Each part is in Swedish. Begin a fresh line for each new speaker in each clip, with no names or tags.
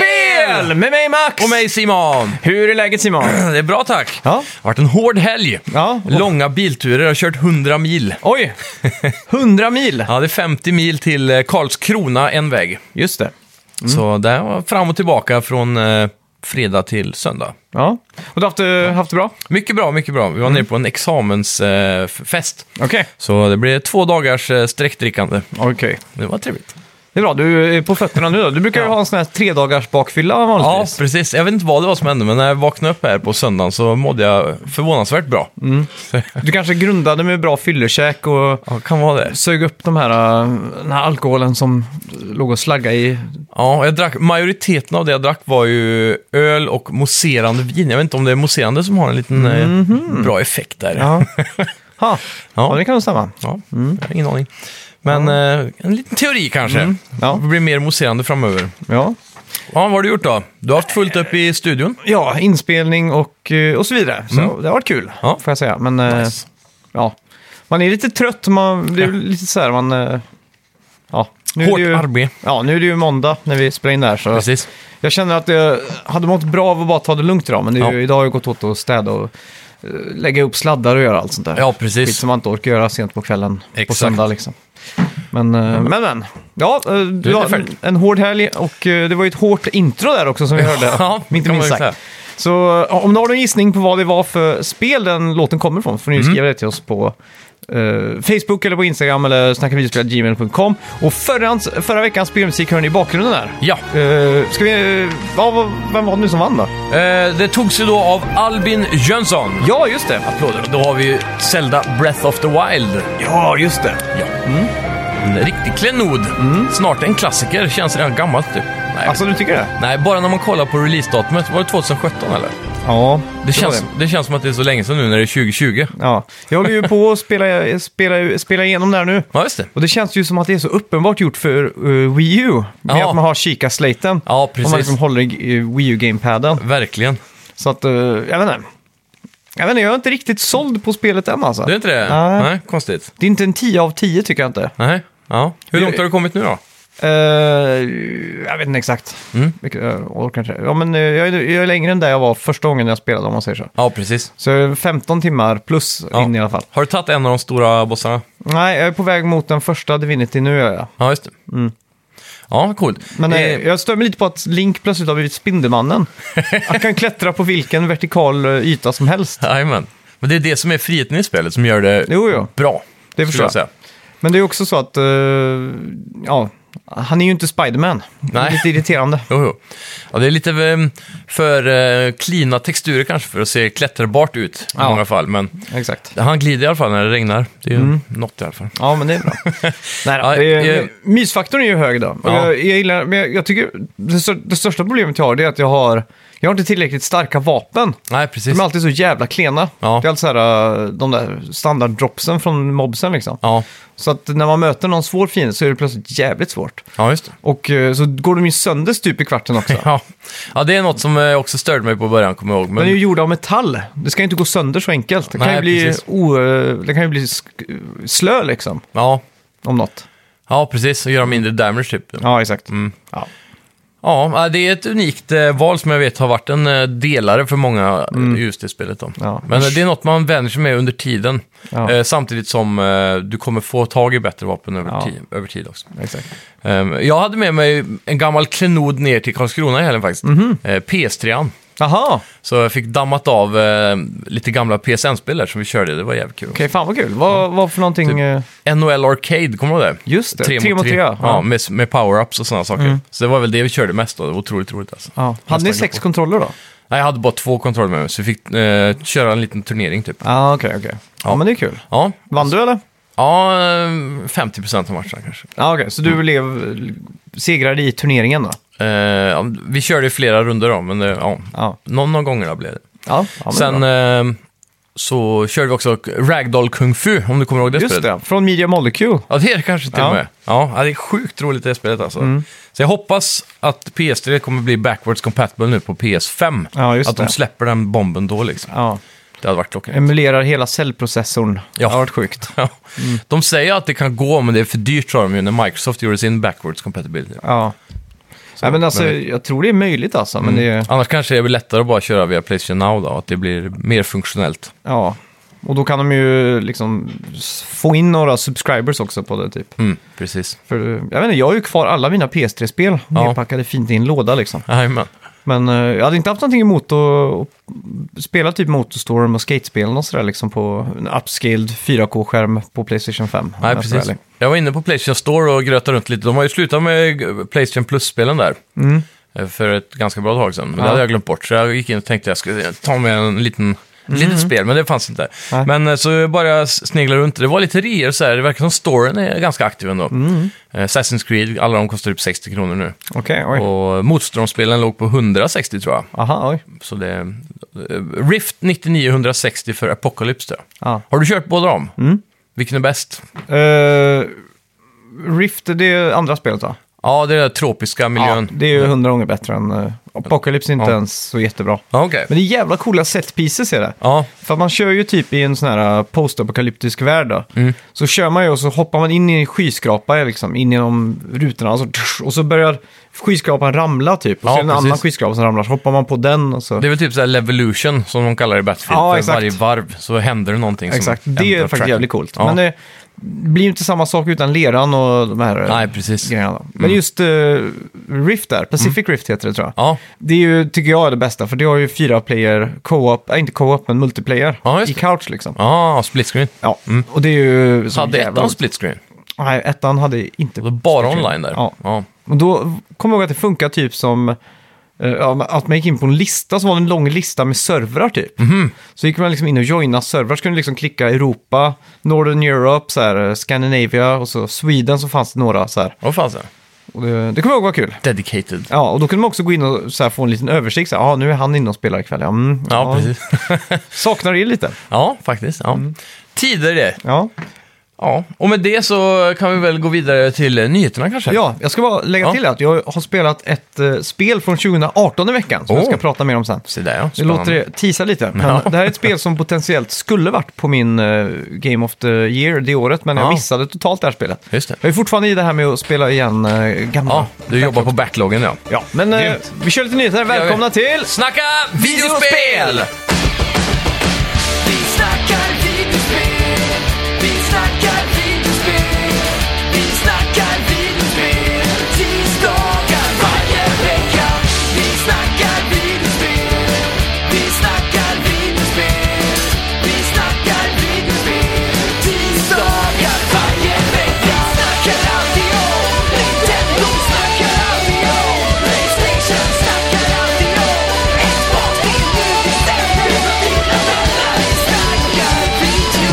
Idol med mig Max!
Och mig Simon!
Hur är läget Simon?
Det är bra tack.
Ja.
Det har varit en hård helg.
Ja.
Långa bilturer, jag har kört 100 mil.
Oj! 100 mil!
Ja, det är 50 mil till eh, Karlskrona en väg.
Just det.
Så det var fram och tillbaka från eh, fredag till söndag.
Ja. Och du har haft, det- haft det bra?
Mycket bra, mycket bra. Vi
Mm.
var nere på en examensfest.
Okej.
Så det blev två dagars eh, sträckdrickande.
Okej.
Det var trevligt.
Det är bra. Du är på fötterna nu då. Du brukar ju
Ja.
ha en sån här tre dagars bakfylla
Ja,
vanligtvis.
precis. Jag vet inte vad det var som hände, men när jag vaknade upp här på söndagen så mådde jag förvånansvärt bra.
Mm. Du kanske grundade med bra fyllekäk och
Ja, kan vara det.
sög upp de här, äh, den här alkoholen som låg och slaggade i.
Ja, jag drack, majoriteten av det jag drack var ju öl och mousserande vin. Jag vet inte om det är mousserande som har en liten eh, bra effekt där. Ja.
Mhm. Ja. Mm. ha.
Ja.
ja, det kan nog stämma.
Jag har ingen aning. Men eh, en liten teori kanske.
Ja.
Det blir mer mousserande framöver.
Ja.
Ja, vad har du gjort då? Du har haft fullt upp i studion.
ja, inspelning och, eh, och så vidare. Så det har varit kul,
Ja.
får jag säga. Men, eh,
Nice.
ja. Man är lite trött, man, det är lite så här, man... eh, Ja. Nu är
Hårt
det ju,
arbete.
Ja, nu är det ju måndag när vi spelar in det här, så
Precis.
jag känner att jag hade mått bra av att bara ta det lugnt idag, men det är ju,
Ja.
idag har jag gått åt att städa och eh, lägga upp sladdar och göra allt sånt där.
Ja,
Skit
precis.
som man inte orkar göra sent på kvällen på
Exakt.
söndag liksom. Men, eh, men, men. Ja, eh,
är
du har en,
färdig.
en hård helg och eh, det var ju ett hårt intro där också som vi hörde.
Ja, det
inte
kan man
minst
ju säga.
sagt. Så eh, om du har någon gissning på vad det var för spel den låten kommer ifrån får ni
Mm.
skriva det till oss på eh, Facebook eller på Instagram eller snackavideospel.gmail.com. Och förra, förra veckans spelmusik hör ni i bakgrunden där.
Ja,
Uh, ska vi... eh, ja, vad- vem var det nu som vann då?
eh, det togs ju då av Albin Jönsson.
Ja, just det.
Applåder. Då har vi ju Zelda Breath of the Wild.
Ja, just det.
Ja. Mm. En riktig klenod.
Mm.
Snart en klassiker. Känns redan gammalt typ. Nej.
Alltså, du tycker det?
Nej, bara när man kollar på releasedatumet. Var det 2017 eller?
Ja,
Det känns, det känns som att det är så länge sedan nu när det är 2020.
Ja, jag håller ju på att spela, spela, spela igenom det här nu.
Ja, just det.
Och det känns ju som att det är så uppenbart gjort för eh, Wii U. Med
Ja.
att man har kika-slaten.
Ja,
Om
precis.
man liksom håller i eh, Wii U-gamepaden.
Verkligen.
Så att, eh, jag vet inte. Jag vet inte, jag är inte riktigt såld på spelet än alltså.
Du är inte det?
Nej.
Nej, konstigt.
Det är inte en 10 av 10 tycker jag inte.
Nej. Ja. Hur
Det-
långt har du kommit nu då?
Eh, jag vet inte exakt.
Mm.
Vilket, jag orkar inte. Ja, men eh, jag, är, jag är längre än där jag var första gången jag spelade om man säger så.
Ja, precis.
Så 15 timmar plus
Ja.
in i alla fall.
Har du tagit en av de stora bossarna?
Nej, jag är på väg mot den första Divinity nu gör jag.
Ja, just det. Ja, coolt.
Mm. Men
Eh,
eh, jag stör mig lite på att Link plötsligt har blivit Spindelmannen. Han kan klättra på vilken vertikal eh, yta som helst.
Jajamän. Men det är det som är friheten i spelet som gör det
Jo, jo.
bra.
Det
skulle
förstår jag.
säga.
Men det är också så att, eh, ja, han är ju inte Spiderman. Det är
Nej.
lite irriterande.
Jo, jo. Ja, det är lite eh, för eh, klina texturer kanske för att se klätterbart ut i
Ja.
många fall. Men
Exakt.
han glider i alla fall när det regnar. Det är ju
Mm.
något i alla fall.
Ja, men det är bra. Nej, då,
Ja,
det är,
eh,
mysfaktorn är ju hög då. Och
Ja.
Jag, jag gillar, men jag, jag tycker det, stör, det största problemet jag har det är att jag har, jag har inte tillräckligt starka vapen.
Nej, precis.
De är alltid så jävla klena.
Ja.
Det är alltså så här, eh, de där standarddropsen från mobsen liksom.
Ja.
Så att när man möter någon svår fiende så är det plötsligt jävligt svårt.
ja, just det.
Och eh, så går de ju sönder stup i kvarten också.
Ja. ja, det är något som eh, också störde mig på början, kommer jag ihåg.
Den är
Men,
ju gjord av metall. Det ska ju inte gå sönder så enkelt. Det kan, ju,
Nej,
bli
precis.
o, eh, det kan ju bli sk- slö liksom,
ja.
om något.
ja, precis. Och göra mindre damage, typ.
Ja, exakt.
Ja. Ja, det är ett unikt eh, val som jag vet har varit en eh, delare för många mm. just det spelet. Då.
Ja.
Men eh, det är något man vänjer sig med under tiden.
Ja.
Eh, Samtidigt som eh, du kommer få tag i bättre vapen över,
Ja.
tid, över tid också.
exakt.
Ehm, Jag hade med mig en gammal klenod ner till Karlskrona i helgen faktiskt.
Mhm.
Eh, PS3. -an.
Jaha, okej,
Så jag fick dammat av eh, lite gamla PSN-spel där som vi körde. Det var jävligt kul.
fan vad kul. Vad, vad för någonting...
Typ
eh,
NHL Arcade, kommer du ihåg det?
Just det,
Tre
tre mot tre,
Ja,
ja. Mm.
med, med power-ups och sådana saker. Så det var väl det vi körde mest då. Det var otroligt roligt alltså.
Ja. Hade ni
Nästan
sex kontroller då?
Nej, jag hade bara två kontroller med mig, så vi fick eh, köra en liten turnering typ.
Ja, okej, okej. Ja. men det är kul.
Ja,
Vann du eller?
ja eh, 50% av matcherna kanske.
Ja, okej. Så du
Mm.
blev segrade i turneringen då?
Eh, ja, vi körde flera runder då, men eh, ja,
Ja.
någon av gångerna blev det.
Ja, ja men
Sen
bra.
eh, så körde vi också Ragdoll Kung Fu, om du kommer ihåg det
Just
spelet.
det, från Media Molecule.
Ja, det är det kanske till
Ja. Mm.
och med. Ja, ja, det är sjukt roligt det spelet alltså. Så jag hoppas att PS3 kommer bli backwards compatible nu på PS5.
Ja, just
att de
det.
släpper den bomben då liksom.
Ja.
Det hade varit klockrent.
Emulerar hela cellprocessorn.
Ja.
Det har varit sjukt. Mm.
Ja. De säger att det Mm. kan gå, men det är för dyrt sa de ju när Microsoft gjorde sin backwards compatibility.
Ja. Nej, men alltså,
men-
jag tror det är möjligt alltså, men det är...
Annars kanske det är väl lättare att bara köra via Playstation Now då, att det blir mer funktionellt.
Ja. Och då kan de ju liksom s- få in några subscribers också på det typ.
Mm, precis.
För eh, jag vet inte, jag har ju kvar alla mina PS3-spel
Ja.
nedpackade fint i en låda liksom.
Jajamän.
Men eh, jag hade inte haft någonting emot att att spela typ Motorstorm och skatespelen och sådär liksom på en upscaled 4K-skärm på Playstation 5. om
Nej,
jag ska vara
precis.
ärlig.
Jag var inne på Playstation Store och grötade runt lite. De har ju slutat med Playstation Plus-spelen där.
Mm.
eh, För ett ganska bra tag sedan. Men
Ja.
det hade jag glömt bort. Så jag gick in och tänkte jag skulle ta med en liten... Litet spel, men det fanns inte.
Mm. Nej.
Men eh, så bara jag s- sneglade runt. Det var lite reor så här. Det verkar som storyn är ganska aktiv ändå. Mm. Assassin's Creed, alla de kostar typ 60 kronor nu.
Okej, oj.
Och motståndsspelen låg på 160 tror jag.
Aha, oj.
Så det eh, Rift 9960 för Apocalypse tror jag.
Ja.
Har du kört båda dem?
Mm.
Vilken är bäst?
Eh, Rift, det är andra spelet va?
Ja, det är den där tropiska miljön.
Ja, det är ju hundra gånger bättre än... Uh, Apocalypse är inte
Ja.
ens så jättebra.
Ja, okej.
Men det är jävla coola set pieces är det.
Ja,
För att man kör ju typ i en sån här postapokalyptisk värld då.
Mm.
Så kör man ju och så hoppar man in i en skyskrapa liksom, in genom rutorna och så, och så börjar skyskrapan ramla typ. Och
Ja,
så är det en
precis.
annan skyskrapa som ramlar, så hoppar man på den och så.
det är väl typ så här Levolution som de kallar det i Battlefield.
Ja,
För
exakt.
Varje varv så händer det någonting
Exakt,
som
det är
ändrar
faktiskt
tracken.
jävligt coolt.
liksom Ja.
Men eh, det blir ju inte samma sak utan leran och de här eh,
Nej, precis. Mm.
grejerna. Då. Men just eh, Rift där, Pacific Rift heter det tror jag.
Ja,
Det är ju, tycker jag, är det bästa, för det har ju fyra player co-op, äh, inte co-op, men multiplayer
Ja, just
i
det.
couch liksom.
ah, split screen.
Ja, och det är ju... så
Hade
jävla
ettan
roligt.
split screen?
Nej, ettan hade inte...
Det var bara
split screen.
online där?
Ja.
ja.
Och då kommer jag ihåg att det funkar typ som... eh, ja, men Att man gick in på en lista som var det en lång lista med servrar typ.
Mhm.
Så gick man liksom in och joinade servrar. Så kunde du liksom klicka Europa, Northern Europe, så här, eh, Scandinavia och så Sweden så fanns det några så här.
Vad fanns det?
Och det, det kommer jag ihåg var kul.
Dedicated.
Ja, och då kunde man också gå in och så här, få en liten översikt. Så här, ah, nu är han inne och spelar ikväll. Ja, Mm. mm,
Ja, precis.
Saknar det lite.
ja, faktiskt. Ja. Tider det.
Ja.
Ja, och med det så kan vi väl gå vidare till eh, nyheterna kanske?
ja, jag ska bara lägga
Ja.
till att jag har spelat ett eh, spel från 2018 i veckan som jag ska
Oh.
prata mer om sen.
Se där ja.
Det
Spännande.
låter det tisa lite. Men
Ja.
Det här är ett spel som potentiellt skulle varit på min eh, Game of the Year det året, men jag
Ja.
missade totalt det här spelet.
Just det.
Jag är fortfarande i det här med att spela igen eh, gamla.
Ja, du jobbar på backloggen ja.
Ja, men eh,
Grymt.
vi kör lite nyheter. Välkomna till...
Snacka videospel!
Vi snackar videospel, vi snackar videospel, vi snackar videospel, tisdagar varje vecka. Vi snackar videospel, vi snackar videospel, vi snackar videospel, tisdagar varje vecka. Snackar alltid om Nintendo, snackar alltid om Playstation, snackar alltid om Xbox, det är nu vi sätter dina vänner. Vi snackar video.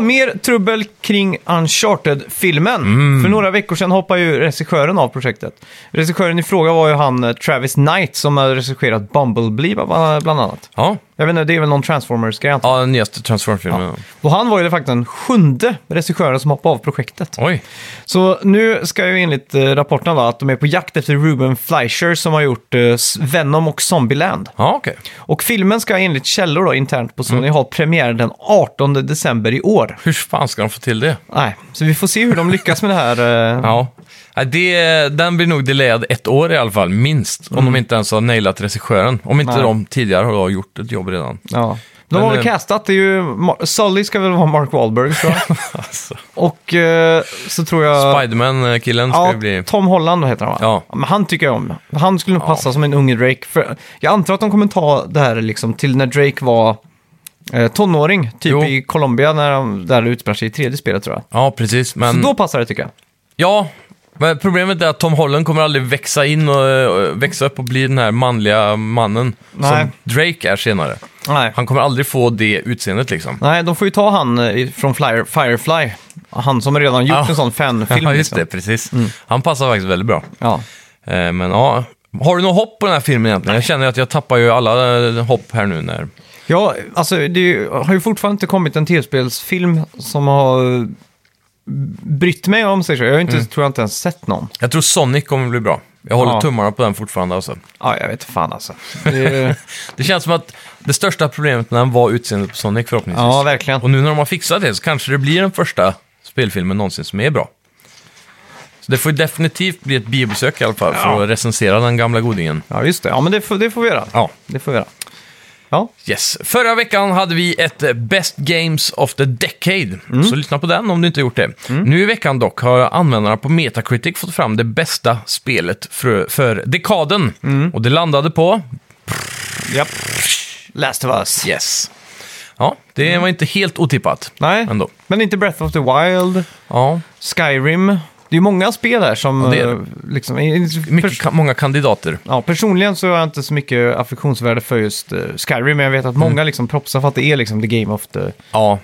mer trubbel kring Uncharted-filmen. För några veckor sedan hoppade ju regissören av projektet. Regissören i fråga var ju han eh, Travis Knight som har regisserat Bumblebee va- bland annat.
Ja,
Jag vet inte, det är väl någon Transformers-grej antar jag.
ja den nyaste Transform-filmen. Ja.
Och han var ju faktiskt den sjunde regissören som hoppade av projektet.
Oj,
Så nu ska ju enligt eh, rapporterna vara att de är på jakt efter Ruben Fleischer som har gjort eh, S- Venom och Zombieland.
ja okej.
Och filmen ska enligt källor då, internt på Sony ha premiär den 18 december i år.
Hur fan ska de få till det?
Nej, så vi får se hur de lyckas med det här. eh.
Ja. Ja, Det, den blir nog delayad ett år i alla fall, minst. Om de inte ens har nailat regissören. Om inte
Mm. Nej.
de tidigare har gjort ett jobb redan.
Ja. De
Men,
har väl
eh,
castat, det är ju... Mar- Sully ska väl vara Mark Wahlberg tror jag.
Alltså.
Och eh, så tror jag...
Spiderman-killen eh, ska
Ja,
ju bli...
Tom Holland heter han va?
Ja.
Men han tycker jag om. Han skulle nog passa som en unge Drake. För jag antar att de kommer ta det här liksom till när Drake var eh, tonåring, typ
Jo.
i Colombia, när han, där det utspelar sig i tredje spelet tror jag.
Ja, precis. Men...
Så då passar det tycker jag.
Ja, men problemet är att Tom Holland kommer aldrig växa in och, och växa upp och bli den här manliga mannen
Nej.
som Drake är senare.
Nej.
Han kommer aldrig få det utseendet liksom.
Nej, de får ju ta han eh, från Flyer, Firefly. Han som redan gjort
Ja.
en sån fanfilm.
ja, just
liksom.
det. Precis. Han passar faktiskt väldigt bra.
Ja.
Eh, men ja, har du något hopp på den här filmen egentligen? Jag känner ju att jag tappar ju alla eh, hopp här nu när...
ja, alltså det är ju- har ju fortfarande inte kommit en tv-spelsfilm som har brytt mig om sig. så. Jag har ju
Mm.
inte, tror jag inte ens sett någon.
Jag tror Sonic kommer bli bra. Jag håller
Ja.
tummarna på den fortfarande alltså.
Ja, jag vet fan alltså. Det är...
Det känns som att det största problemet med den var utseendet på Sonic förhoppningsvis.
Ja, verkligen.
Och nu när de har fixat det så kanske det blir den första spelfilmen någonsin som är bra. Så det får ju definitivt bli ett biobesök i alla fall för
Ja.
att recensera den gamla godingen.
Ja, just det. Ja, men det får, det får vi göra.
Ja,
Det får vi göra. Ja,
yes. Förra veckan hade vi ett eh, Best Games of the Decade,
Mm.
så lyssna på den om du inte gjort det. Nu i veckan dock har användarna på Metacritic fått fram det bästa spelet för, för dekaden.
Mm.
Och det landade på
japp. Last of us.
Yes. Ja, det var inte helt otippat.
Mm. Nej,
Ändå.
men inte Breath of the Wild,
Ja,
Skyrim. Det är ju många spel här som...
Ja, det är det.
eh, Liksom, i- i-
mycket,
pers-
ka- många kandidater.
ja, personligen så har jag inte så mycket affektionsvärde för just eh, Skyrim, men jag vet att många
Mm.
liksom propsar för att det är liksom the game of the
Ja,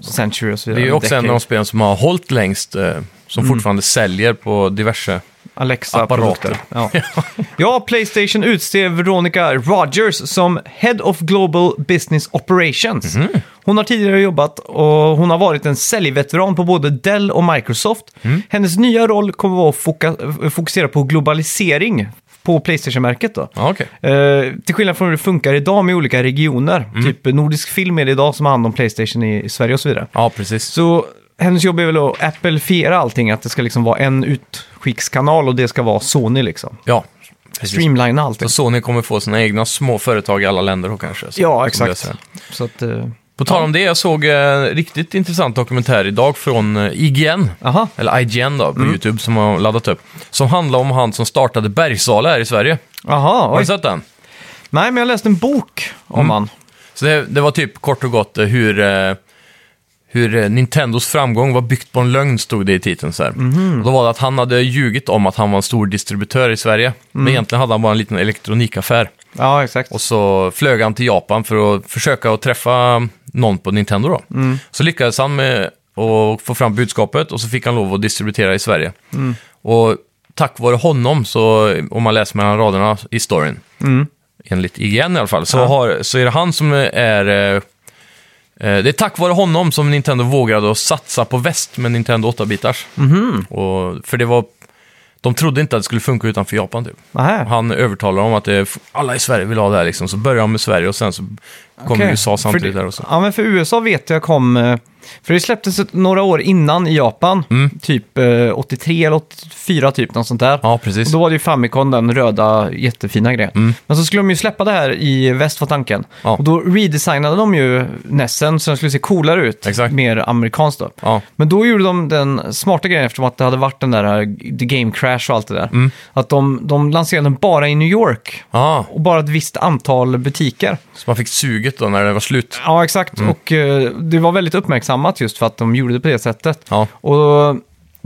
century och så
det
vidare.
är ju också en av
Decade. Mm.
de spelen som har hållit längst, eh, som fortfarande säljer på diverse...
Alexa-produkter.
apparater.
Ja. ja, Playstation utser Veronica Rogers som Head of Global Business Operations.
Mhm.
Hon har tidigare jobbat och hon har varit en säljveteran på både Dell och Microsoft.
Mm.
Hennes nya roll kommer vara att foka- fokusera på globalisering på Playstation-märket. Då.
Ja, okej.
Eh, till skillnad från hur det funkar idag med olika regioner,
Mm.
typ Nordisk Film är det idag som har hand om Playstation i, i Sverige och så vidare.
Ja, precis.
Så hennes jobb är väl att appelfiera allting, att det ska liksom vara en utskickskanal och det ska vara Sony liksom.
Ja, precis.
Streamlina allting.
Så Sony kommer få sina egna små företag i alla länder då kanske. så- som
Ja, exakt.
löser det.
Så att, eh,
På tal om det, jag såg en riktigt intressant dokumentär idag från eh, IGN.
aha, Mm.
Eller IGN då, på YouTube, som har laddat upp. Som handlar om han som startade Bergsala här i Sverige.
aha,
Har
oj.
du sett den?
Nej, men jag läste en bok om
Mm.
han.
Så det, det var typ kort och gott eh, hur, eh, hur eh, Nintendos framgång var byggt på en lögn, stod det i titeln. Så här.
Mhm.
Och då var det att han hade ljugit om att han var en stor distributör i Sverige.
Mm.
Men egentligen hade han bara en liten elektronikaffär.
Ja, exakt.
Och så flög han till Japan för att försöka att träffa någon på Nintendo. Då. Så lyckades han med att få fram budskapet och så fick han lov att distributera i Sverige. Och tack vare honom, så, om man läser mellan raderna i storyn, enligt IGN i alla fall, så, har, så är det han som är... eh, eh, Det är tack vare honom som Nintendo vågade att satsa på väst med Nintendo 8-bitars. Och- För det var... De trodde inte att det skulle funka utanför Japan typ.
Nähä.
Han övertalar om att det är, alla i Sverige vill ha det här liksom. Så börjar han med Sverige och sen så kommer
Okej.
USA samtidigt
för,
där och så.
Ja, men för USA vet jag kom... eh, För det släpptes ett- några år innan i Japan, typ eh, 83 eller 84 typ, något sånt där.
Mm. Ja, precis. Mm.
Och Då var det ju Famicom, den röda jättefina grejen. Men så skulle de ju släppa det här i väst var tanken.
Ja.
Och då redesignade de ju Nessen så den skulle se coolare ut.
Exakt.
Mer amerikanskt då.
Ja.
Men då gjorde de den smarta grejen eftersom att det hade varit den där eh, The Game Crash och allt det där.
Mm.
Att de, de lanserade den bara i New York.
Ah,
Och bara ett visst antal butiker.
så man fick suget då när det var slut.
Ja, exakt.
Mm.
Och eh, det var väldigt uppmärksammat just för att de gjorde det på det sättet.
Ja.
Och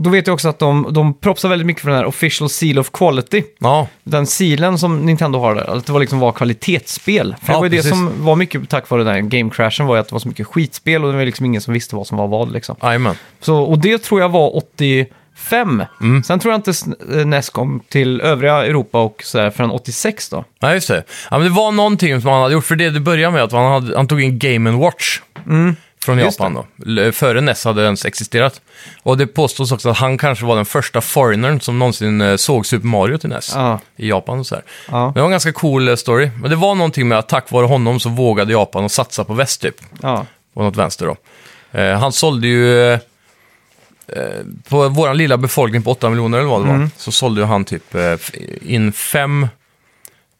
då vet jag också att de, de propsar väldigt mycket för den här Official Seal of Quality
Ja,
den silen som Nintendo har där, att det var liksom var kvalitetsspel. För det
Ja,
var ju det
precis.
som var mycket tack vare den här game-crashen var ju att det var så mycket skitspel och det var liksom ingen som visste vad som var vad liksom.
jajamän.
Så, och det tror jag var 85.
Mm.
Sen tror jag inte S- eh, NES kom till övriga Europa och sådär förrän 86 då.
Ja, just det. Ja, men det var någonting som han hade gjort. För det du började med, att han, hade, han tog in Game Watch. Från
Mm. Just
Japan då. L- Före NES hade det ens existerat. Och det påstås också att han kanske var den första foreignern som någonsin eh, såg Super Mario till NES.
Ja.
I Japan och så här.
Ja.
Det var en ganska cool eh, story. Men det var någonting med att tack vare honom så vågade Japan att satsa på väst typ.
Ja,
på något vänster då. Eh, han sålde ju, eh, eh, på vår lilla befolkning på 8 miljoner eller vad det
Mm.
var, så sålde ju han typ eh, f- in fem,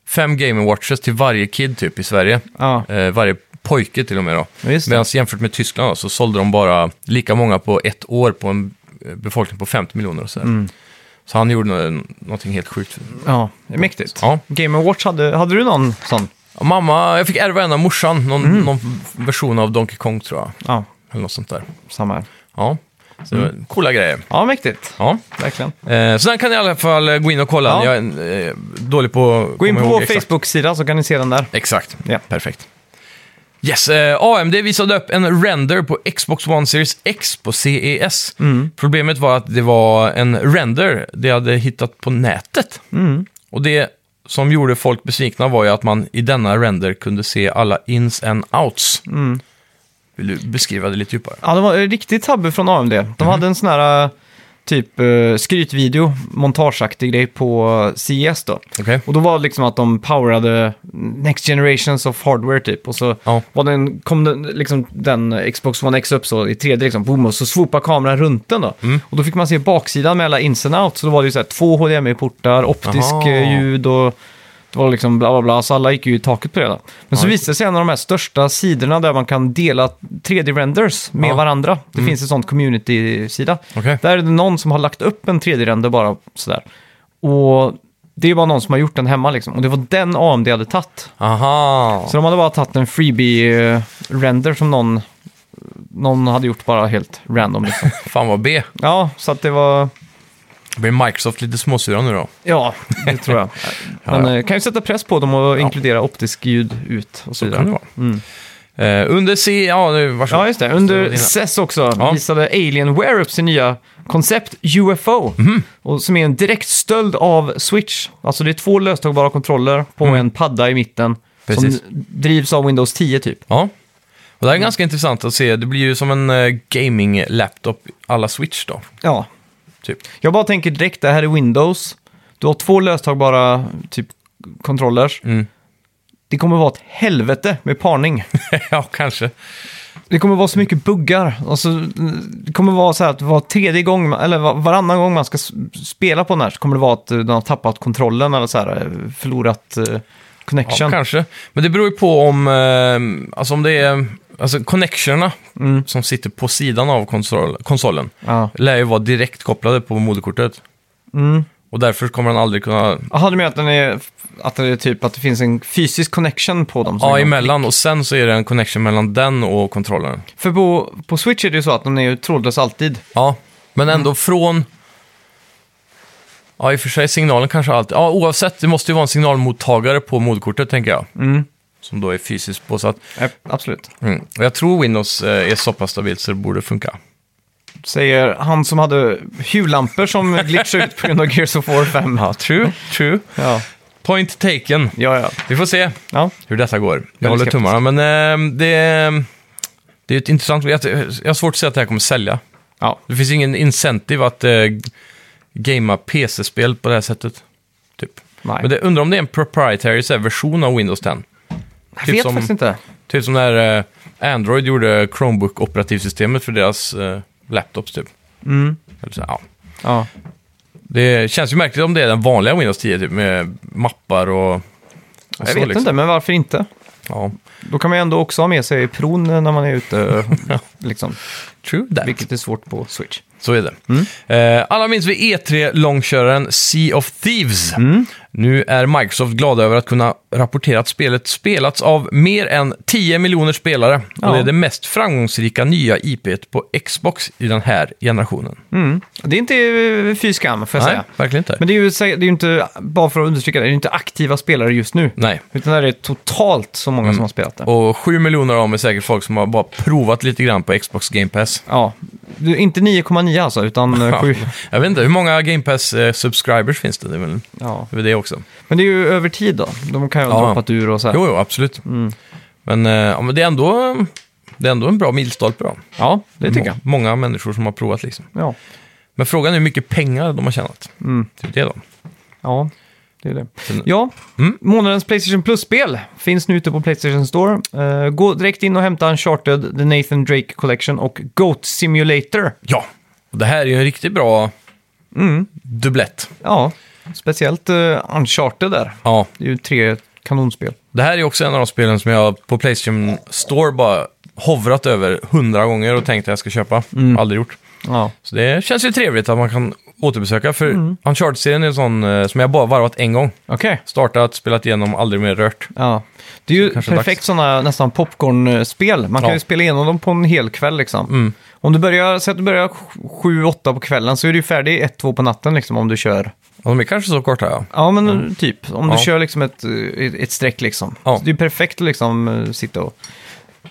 fem Game Watches till varje kid typ i Sverige.
ja,
Eh, varje pojke till och med då.
Ja, just det.
Medan jämfört med Tyskland då, så sålde de bara lika många på ett år på en eh, befolkning på 50 miljoner och sådär.
Mm.
Så han gjorde nå- någonting helt sjukt.
ja. Det är mäktigt.
Ja.
Game Watch, hade, hade du någon sån?
Ja, Mamma, jag fick ärva en av morsan, någon,
Mm.
någon version av Donkey Kong tror jag.
Ja,
Eller något sånt där.
samma här.
Ja, så det var
Mm.
coola grejer.
Ja, mäktigt.
Ja.
Verkligen.
Eh, Så den kan ni i alla fall gå in och kolla.
Ja.
Jag är eh, dålig på att
Gå in på
komma
vår
ihåg exakt.
Facebook-sida så kan ni se den där.
Exakt.
Ja.
Perfekt. Yes, eh, AMD visade upp en render på Xbox One Series X på CES.
Mm.
Problemet var att det var en render de hade hittat på nätet.
Mm.
Och det som gjorde folk besvikna var ju att man i denna render kunde se alla ins and outs.
Mm.
Vill du beskriva det lite djupare?
Ja, det var en riktig tabbe från AMD. De hade en sån här... eh, typ eh, skrytvideo, montageaktig grej på CES då.
Okej.
Och då var det liksom att de powerade Next Generations of Hardware typ. Och så
Ja.
var den, kom den, liksom, den Xbox One X upp så i 3D liksom, boom, och så swoopade kameran runt den då.
Mm.
Och då fick man se baksidan med alla ins and outs. Så då var det ju så här, två HDMI-portar, optisk
Aha.
eh, ljud och det var liksom bla bla bla, så alla gick ju i taket på det. Då. Men så
Ja, just
visade det sig en av de här största sidorna där man kan dela 3D-renders med
Ja. Mm.
varandra. Det finns en sån community-sida.
Okej.
Där är det någon som har lagt upp en 3D-render bara sådär. Och det är bara någon som har gjort den hemma liksom. Och det var den AMD hade tagit.
Aha.
Så de hade bara tagit en freebie-render som någon, någon hade gjort bara helt random. Liksom.
Fan vad B.
ja, så att det var...
Blir Microsoft lite småsura nu då?
Ja, det tror jag. Men eh, kan ju sätta press på dem och inkludera optisk ljud ut och så
Det kan det
vidare.
vara. Eh, under C... Ja, nu, varsågod.
Mm. Ja, just det. Under
dina.
CES också
Ja.
visade Alienware upp sin nya koncept UFO.
Mhm.
Och som är en direkt stöld av Switch. Alltså det är två löstagbara kontroller på en padda i mitten.
Mm. Precis.
Som drivs av Windows 10 typ.
Ja. Och det här är ganska intressant att se. Det blir ju som en eh, gaming-laptop alla Switch då.
Ja.
Typ.
Jag bara tänker direkt, det här är Windows. Du har två löstagbara typ controllers.
Mm.
Det kommer vara ett helvete med parning.
ja, kanske.
Det kommer vara så mycket buggar. Alltså, det kommer vara så här att var tredje gång, eller var- varannan gång man ska s- spela på den här så kommer det vara att eh, den har tappat kontrollen eller så här, eh, förlorat eh,
Ja,
connection.
kanske. Men det beror ju på om, eh, alltså om det är alltså connectionerna
Mm.
som sitter på sidan av konsol, konsolen.
Ja.
Lär ju vara direkt kopplade på moderkortet.
Mm.
Och därför kommer den aldrig kunna...
Jaha, du menar att, den är, att det är typ att det finns en fysisk connection på dem? som
Ja,
är-
emellan. Och sen så är det en connection mellan den och kontrollen.
För på, på Switch är det ju så att den är ju trådlös alltid.
Ja, men ändå från... Ja, i och för sig signalen kanske alltid... Ja, oavsett. Det måste ju vara en signalmottagare på moderkortet, tänker jag. Som då är fysiskt påsatt.
Ja, absolut.
Mm. Och jag tror Windows eh, är så pass stabilt så det borde funka.
Säger han som hade hjullampor som glitchade ut på grund av Gears of War 5. Ja,
True, true.
ja,
Point taken.
ja. ja.
Vi får se
ja.
hur detta går. Jag
Väldigt
håller
skeptisk.
tummarna, men eh, det, det är ett intressant... Jag, jag har svårt att säga att det här kommer sälja.
ja.
Det finns ingen incentive att eh, gamea PC-spel på det här sättet. Typ.
Nej.
Men det, undrar om det är en proprietary så här, version av Windows 10.
Jag
Typ
vet
som-
faktiskt inte.
Typ som när eh, Android gjorde Chromebook-operativsystemet för deras eh, laptops typ.
Mm.
Eller så, ja.
Ja.
Det känns ju märkligt om det är den vanliga Windows 10 typ, med mappar och... och
Jag vet
liksom.
inte, men varför inte?
Ja.
Då kan man ju ändå också ha med sig pron när man är ute, liksom,
True that.
vilket är svårt på Switch.
Så är det.
Mm.
Eh, alla minns vi E3-långköraren Sea of Thieves.
Mm.
Nu är Microsoft glada över att kunna rapportera att spelet spelats av mer än 10 miljoner spelare.
Ja.
Och det är det mest framgångsrika nya IPet på Xbox i den här generationen.
Mm. Det är inte eh, fy skam, får jag
Nej,
säga.
verkligen inte.
Men det är, ju, sä- det är ju inte, bara för att understryka det, det är ju inte aktiva spelare just nu.
Nej. Mm.
Utan det är totalt så många som har spelat det.
Och 7 miljoner av dem är säkert folk som har bara provat lite grann på Xbox Game Pass.
Ja, du, inte 9,9 alltså, utan eh,
Ja.
7.
Jag vet inte, hur många Game Pass-subscribers finns det? Det är väl
Ja.
det är väl det också.
Men det är ju över tid då. De kan ju ha
Ja.
droppat ur och så här.
Jo, jo, absolut.
Mm.
Men, eh, ja, men det, är ändå, det är ändå en bra milstolpe då.
Ja, det tycker jag.
Må- Många människor som har provat liksom.
Ja.
Men frågan är hur mycket pengar de har tjänat.
Mm.
Det är det då.
Ja, det är det. Ja, månadens Playstation Plus-spel finns nu ute på Playstation Store. Eh, gå direkt in och hämta Uncharted, The Nathan Drake Collection och Goat Simulator.
Ja, och det här är ju en riktigt bra
Mm.
dubblett.
Ja, speciellt eh, Uncharted där.
Ja,
Det är ju tre kanonspel.
det här är också en av de spelen som jag på Playstation Store bara hovrat över hundra gånger och tänkt att jag ska köpa.
Mm.
Aldrig gjort.
Ja,
Så det känns ju trevligt att man kan återbesöka, för
Mm.
Uncharted-serien är en sån eh, som jag bara varvat en gång.
okej.
Startat, spelat igenom, aldrig mer rört.
Ja. Det är ju
kanske
perfekt
dags.
sådana nästan popcornspel. Man kan
Ja.
ju spela igenom dem på en hel kväll liksom. Om du börjar, säg att du börjar 7-8 på kvällen så är du ju färdig 1-2 på natten liksom om du kör
Och de är kanske så korta, ja.
Ja, men typ. Om
Mm. Ja.
du kör liksom ett, eh, ett streck liksom.
Ja.
Så det är perfekt att liksom eh, sitta och...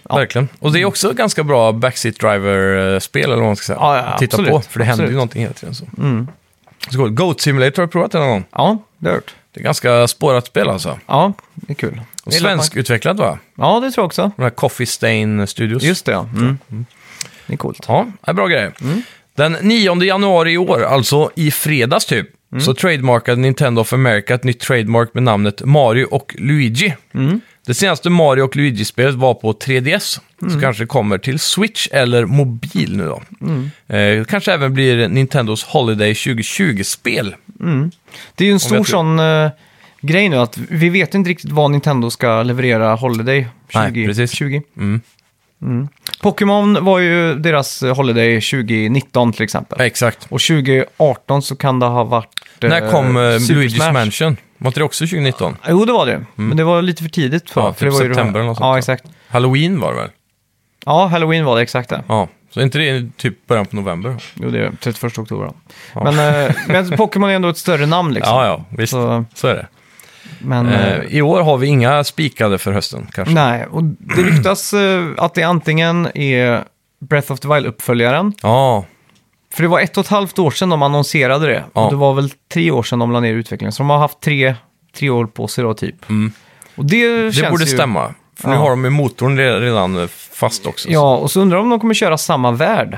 Verkligen. Och
Mm.
det är också ganska bra backseat driver-spel, eller vad man ska säga.
Ja, ja,
Att Titta
absolut.
på, för det händer
Absolut.
ju
Mm.
någonting hela tiden. Så. Skål. Goat Simulator har jag provat en gång.
Ja, det har jag hört.
Det är ganska spårat spel alltså.
Ja, det är kul.
Och
Det är lätt
Svenskutvecklat va?
man- Ja, det tror jag också.
De här Coffee Stain Studios. Mm.
Just det, ja. Mm. Det är coolt.
Ja, det är bra grejer. Den 9 januari i år, alltså i fredags typ,
Mm.
så trademarkade Nintendo of America ett nytt trademark med namnet Mario och Luigi.
Mm.
Det senaste Mario och Luigi-spelet var på 3DS,
Mm.
så kanske det kommer till Switch eller mobil nu då.
Mm.
Eh, kanske även blir Nintendos Holiday 2020-spel.
Det är ju en stor
jag tror-
sån eh, grej nu att vi vet inte riktigt vad Nintendo ska leverera Holiday
Nej,
2020.
precis. Mm.
Pokémon var ju deras eh, Holiday 2019 till exempel.
Exakt.
Och 2018 så kan det ha varit... eh,
När kom eh,
Super
Luigi's
Smash.
Mansion? Var inte det också 2019?
Jo, det var det. Men det var lite för tidigt. För,
Mm. Ja,
för det
typ
var ju det här-
september eller något sånt,
Ja,
ja.
exakt.
Halloween var det väl?
Ja, Halloween var det exakt det.
Ja, så är inte det typ början på november?
Jo, det är 31 oktober. då.
Ja.
Men, eh, men Pokémon är ändå ett större namn liksom.
Ja, ja, visst. Så,
Så,
är det.
men... eh,
Eh, I år har vi inga spikade för hösten kanske.
Nej, och det ryktas eh, att det antingen är Breath of the Wild-uppföljaren.
Ja,
För det var ett och ett halvt år sedan de annonserade det.
Ja.
Och det var väl tre år sedan de la ner utvecklingen. Så de har haft tre, tre år på sig då typ. Och det,
Mm. det
känns
borde
ju...
stämma. För nu
Ja.
har de ju motorn re- redan eh, fast också.
Ja, och så undrar jag om de kommer köra samma värld.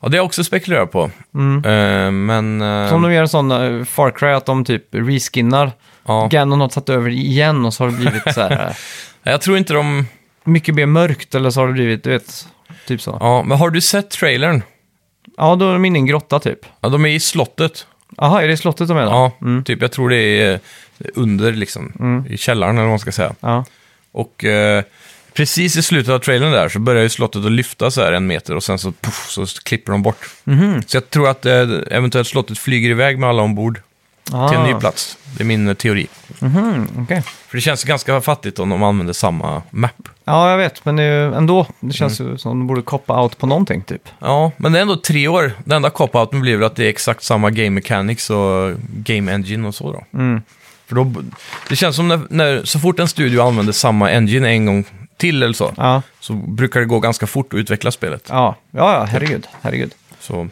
ja det har jag också spekulerat på. Eh, men... eh,
Mm. Som de gör en sån eh, Far Cry, att de typ reskinnar.
ja.
Ganon har tagit över igen och så har det blivit så här eh,
Jag tror inte de...
mycket mer mörkt eller så har det blivit, du vet, typ så. Ja,
Ja, men har du sett trailern?
då är de inne i en grotta typ.
Ja, de är i slottet.
Jaha, är det slottet de är då?
Ja,
Mm.
typ. Jag tror det är eh, under liksom. I källaren eller vad man ska säga.
ja.
Och eh, precis i slutet av trailern där så börjar ju slottet att lyfta så här en meter och sen så, puff, så klipper de bort.
Mhm.
Så jag tror att eh, eventuellt slottet flyger iväg med alla ombord till en ny
Ah.
plats. Det är min eh, teori.
Okej.
För det känns ganska fattigt om de använder samma map.
Ja, jag vet, men det är ju ändå. Det känns
Mm.
ju som de borde koppa out på någonting typ.
Ja, men det är ändå tre år. Det enda cop-outen blir väl att det är exakt samma game mechanics och game engine och så då.
Mm.
För då det känns som när, när, så fort en studio använder samma engine en gång till eller så,
Ja,
så brukar det gå ganska fort att utveckla spelet.
ja, ja, ja herregud, herregud.
Så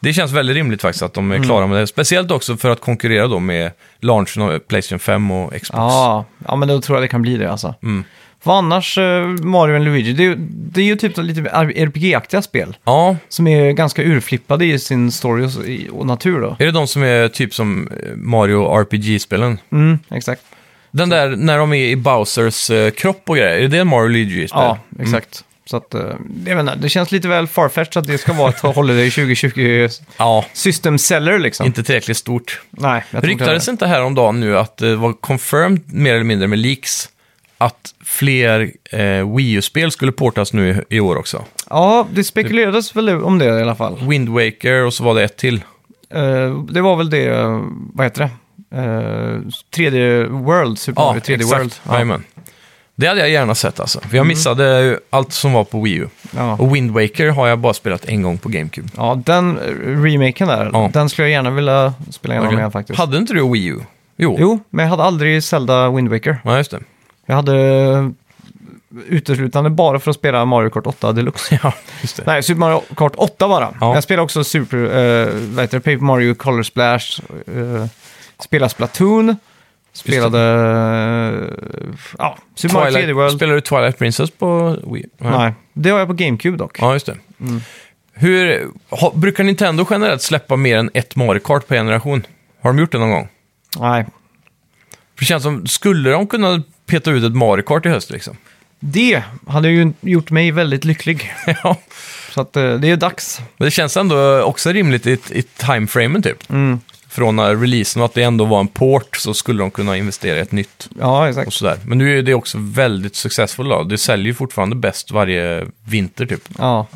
det känns väldigt rimligt faktiskt att de är
Mm.
klara med det. Speciellt också för att konkurrera då med launchen av Playstation 5 och Xbox.
Ja, ja, men då tror jag det kan bli det alltså.
Mm.
För annars, eh, Mario och Luigi, det är, ju- det är ju typ lite RPG-aktiga spel.
Ja,
Som är ganska urflippade i sin story och, så- i- och natur då.
är det de som är typ som eh, Mario RPG-spelen?
Mm, exakt.
Den där när de är i Bowsers eh, kropp och grejer, är det en Mario RPG-spel?
Ja, exakt. Så att, eh, jag vet inte, det känns lite väl farfetched att det ska vara ett Holiday 2020
Ja,
system seller liksom.
inte tillräckligt stort.
Nej, jag tror inte det.
Ryktades inte häromdagen nu att det var confirmed, mer eller mindre med leaks, att fler eh, Wii U-spel skulle portas nu i i år också?
Ja, det spekulerades väl om det i alla fall.
Wind Waker och så var det ett till.
Eh, det var väl det, eh, vad heter det? Eh, 3D World, Super Mario 3D World.
Jajamän. Det hade jag gärna sett alltså. För
Mm.
jag missade ju allt som var på Wii U.
Ja.
Och Wind Waker har jag bara spelat en gång på GameCube.
ja, den eh, remaken där,
Ja.
den skulle jag gärna vilja spela igenom igen faktiskt.
Hade inte du Wii U? Jo.
Jo, men jag hade aldrig Zelda Wind Waker.
Ja, just det.
Jag hade eh, uteslutande bara för att spela Mario Kart 8 Deluxe.
Ja, just det.
Nej, Super Mario Kart 8 bara.
Ja.
Jag spelar också Super, eh, vad heter det, Paper Mario Color Splash, eh, spelar Splatoon, spelade eh, ja, Super Mario 3D World.
Spelar du Twilight Princess på Wii? U?
Nej, det har jag på GameCube dock.
Ja, just det. Hur, ha, brukar Nintendo generellt släppa mer än ett Mario Kart per generation? Har de gjort det någon gång?
Nej.
För det känns som, skulle de kunna peta ut ett Mario Kart i höst liksom?
Det hade ju gjort mig väldigt lycklig.
ja.
Så att, eh, det är dags.
Men det känns ändå också rimligt i, i timeframen typ. Från när releasen och att det ändå var en port så skulle de kunna investera i ett nytt
Ja, exakt.
och sådär. Men nu är det också väldigt successful då. Det säljer ju fortfarande bäst varje vinter typ.
Ja.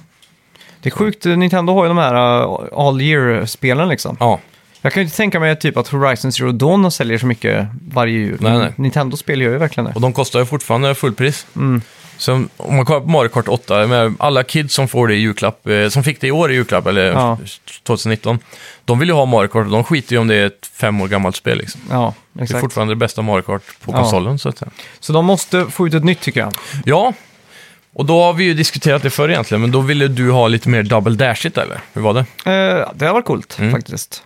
Det är sjukt, eh, Nintendo har ju de här eh, all year-spelen liksom.
Ja,
Jag kan ju inte tänka mig typ att Horizon Zero Dawn säljer så mycket varje jul.
Nej, nej.
Nintendo-spel gör ju verkligen det.
och de kostar ju fortfarande fullpris.
Mm.
Så om man kollar på Mario Kart 8, jag menar, alla kids som får det i julklapp, eh, som fick det i år i julklapp, eller
Ja.
2019, de vill ju ha Mario Kart och de skiter ju om det är ett fem år gammalt spel liksom.
Ja,
Det är
exakt.
fortfarande det bästa Mario Kart på
Ja.
konsolen så att säga.
Så de måste få ut ett nytt tycker jag.
Ja, och då har vi ju diskuterat det förr egentligen, men då ville du ha lite mer double dashigt eller? Hur var det?
Mm. Eh, det har varit coolt faktiskt.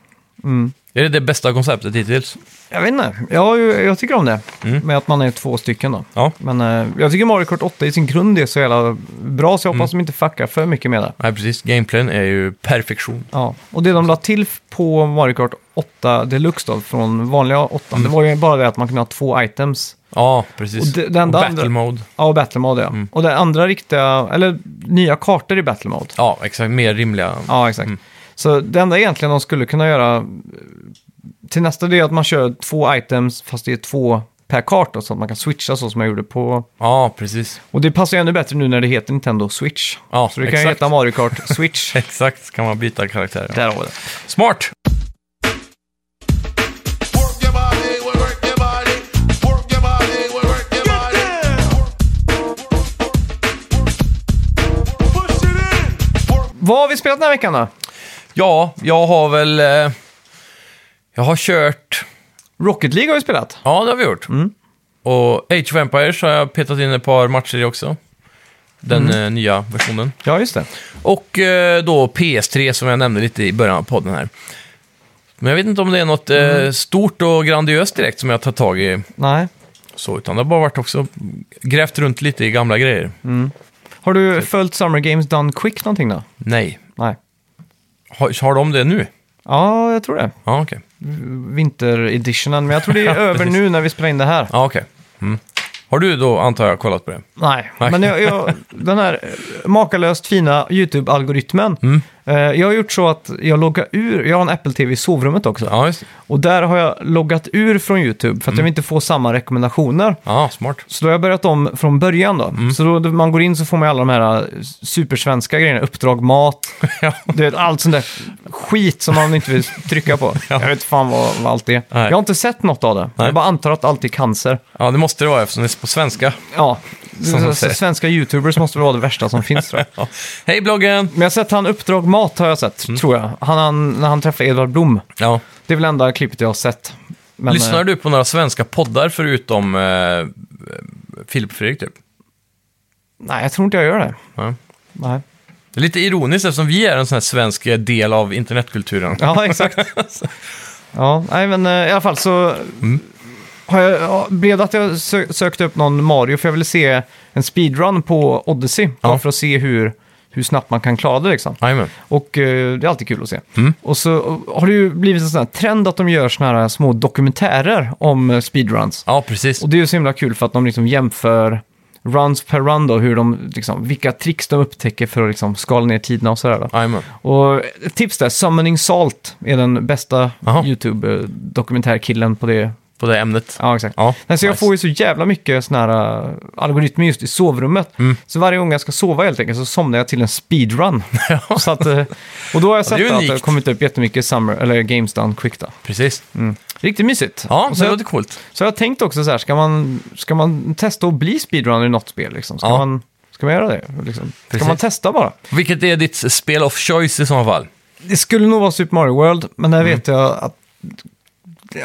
Är det det bästa konceptet hittills?
Jag vet inte, jag, jag tycker om det. Med att man är två stycken då.
Ja.
Men eh, jag tycker Mario Kart 8 i sin grund är så jävla bra, så jag hoppas de inte fuckar för mycket med det.
Nej, precis. Gameplayen är ju perfektion.
Ja, och det de la till f- på Mario Kart 8 Deluxe då, från vanliga 8, det var ju bara det att man kunde ha två items.
Ja, precis.
Och det- det enda
Och
andra-
battle mode.
Ja, och Battle Mode ja. Och det andra riktiga, eller nya kartor i Battle Mode.
Ja, exakt. Mer rimliga.
Ja, exakt. Så det enda egentligen de skulle kunna göra eh, till nästa det är att man kör två items fast det är två per karta så att man kan switcha så som jag gjorde på...
Ja, precis.
Och det passar ju ännu bättre nu när det heter Nintendo Switch.
Ja,
så det kan ju
exakt.
heta Mario Kart Switch.
Exakt, kan man byta karaktär. ja.
Där har vi det.
Smart!
Work your body, work your body, work your body, work your body. Push it in. Work
Vad har vi spelat den här veckan då?
Ja, jag har väl... Eh, jag har kört...
Rocket League har vi spelat.
Ja, det har vi gjort. Och Age of Empires har jag petat in ett par matcher i också. Den eh, nya versionen.
Ja, just det.
Och eh, då PS3 som jag nämnde lite i början av podden här. Men jag vet inte om det är något eh, stort och grandiöst direkt som jag tar tag i.
Nej.
Så, utan det har bara varit också grävt runt lite i gamla grejer.
Har du följt Summer Games Done Quick någonting då?
Nej.
Nej.
Har, har de det nu?
Ja, jag tror det.
Ja, okej.
Vintereditionen, men jag tror det är
Ja,
över
precis.
nu när vi spelar in det här.
Ja, okej. Mm. Har du då, antar jag, kollat på det?
Nej,
Nej.
men jag, jag, den här eh, makalöst fina YouTube-algoritmen.
Mm.
Eh, jag har gjort så att jag loggar ur, jag har en Apple TV i sovrummet också.
Ja, Mm. just det.
Och där har jag loggat ur från YouTube för att jag vill inte få samma rekommendationer.
Ja, smart.
Så då har jag börjat om från början då.
Mm.
Så då när man går in så får man ju alla de här eh, supersvenska grejerna, uppdrag mat,
Ja.
du vet, allt sånt där skit som man inte vill trycka på. Jag vet inte fan vad, vad allt är.
Nej.
Jag har inte sett något av det.
Nej.
Jag bara antar att allt är cancer.
Ja, det måste det vara eftersom det är på svenska.
Ja,
Som de
så,
säger.
svenska YouTubers måste väl vara det värsta som finns tror jag.
Ja. Hej bloggen!
Men jag har sett han Uppdrag Mat har jag sett,
Mm.
tror jag. Han, han, när han träffade Edvard Blom.
Ja.
Det är väl enda klippet jag har sett. Men,
Lyssnar
eh,
du på några svenska poddar förutom eh, eh, Filip och Fredrik typ?
Nej, jag tror inte jag gör det.
Ja.
Nej.
Det är lite ironiskt eftersom vi är en sån här svensk eh, del av internetkulturen.
Ja, exakt. ja, nej, men eh, i alla fall så
Mm.
har jag, ja, blev det att jag sö- sökte upp någon Mario för jag ville se en speedrun på Odyssey. Bara
Ja.
för att se hur, hur snabbt man kan klara det liksom.
Jajamän.
Och eh, det är alltid kul att se.
Mm.
Och så eh, har det ju blivit en sån här trend att de gör såna här små dokumentärer om eh, speedruns.
Ja, precis.
Och det är ju så himla kul för att de liksom jämför runs per run då, hur de, liksom, vilka tricks de upptäcker för att liksom skala ner tiderna och sådär. Då.
Jajamän.
Och ett tips där, Summoning Salt är den bästa
Jaha.
YouTube-dokumentärkillen på det.
På det ämnet.
Ja, exakt.
Ja,
Nej, så jag
nice.
får ju så jävla mycket såna här äh, algoritmer just i sovrummet.
Mm.
Så varje gång jag ska sova helt enkelt så somnar jag till en speedrun. så att, eh, och då har jag
Ja,
sett
det är
att det
unikt.
har kommit upp jättemycket summer, eller Games Done Quick då.
Precis.
Riktigt mysigt.
Ja,
Mm. Och
så
så,
det
jag,
låter coolt.
så jag har tänkt också så här, ska man, ska man testa att bli speedrunner i något spel liksom? Ska,
Ja.
man, ska man göra det? Liksom? Ska
Precis.
man testa bara?
Vilket är ditt spel of choice i så fall?
Det skulle nog vara Super Mario World, men
Mm.
där vet jag att...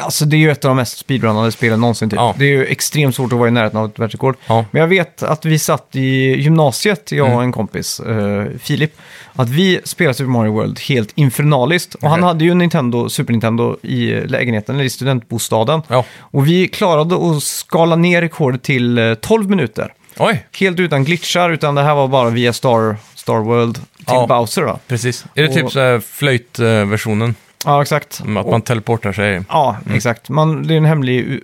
Alltså det är ju ett av de mest speedrunnade spelen någonsin typ.
Ja.
Det är ju extremt svårt att vara i närheten av ett världsrekord.
Ja.
Men jag vet att vi satt i gymnasiet, jag
Mm.
och en kompis, eh, Filip, att vi spelade Super Mario World helt infernaliskt. Och han
Okej.
hade ju Nintendo, Super Nintendo i lägenheten, eller i studentbostaden.
Ja.
Och vi klarade att skala ner rekordet till eh, 12 minuter.
Oj,
Helt utan glitchar, utan det här var bara via Star, Star World till
Ja.
Bowser då.
precis. Är det
Och-
typ så här flöjtversionen?
Ja, exakt.
Mm, Att man Mm. teleportar sig?
Ja, exakt. Man, det är en hemlig u-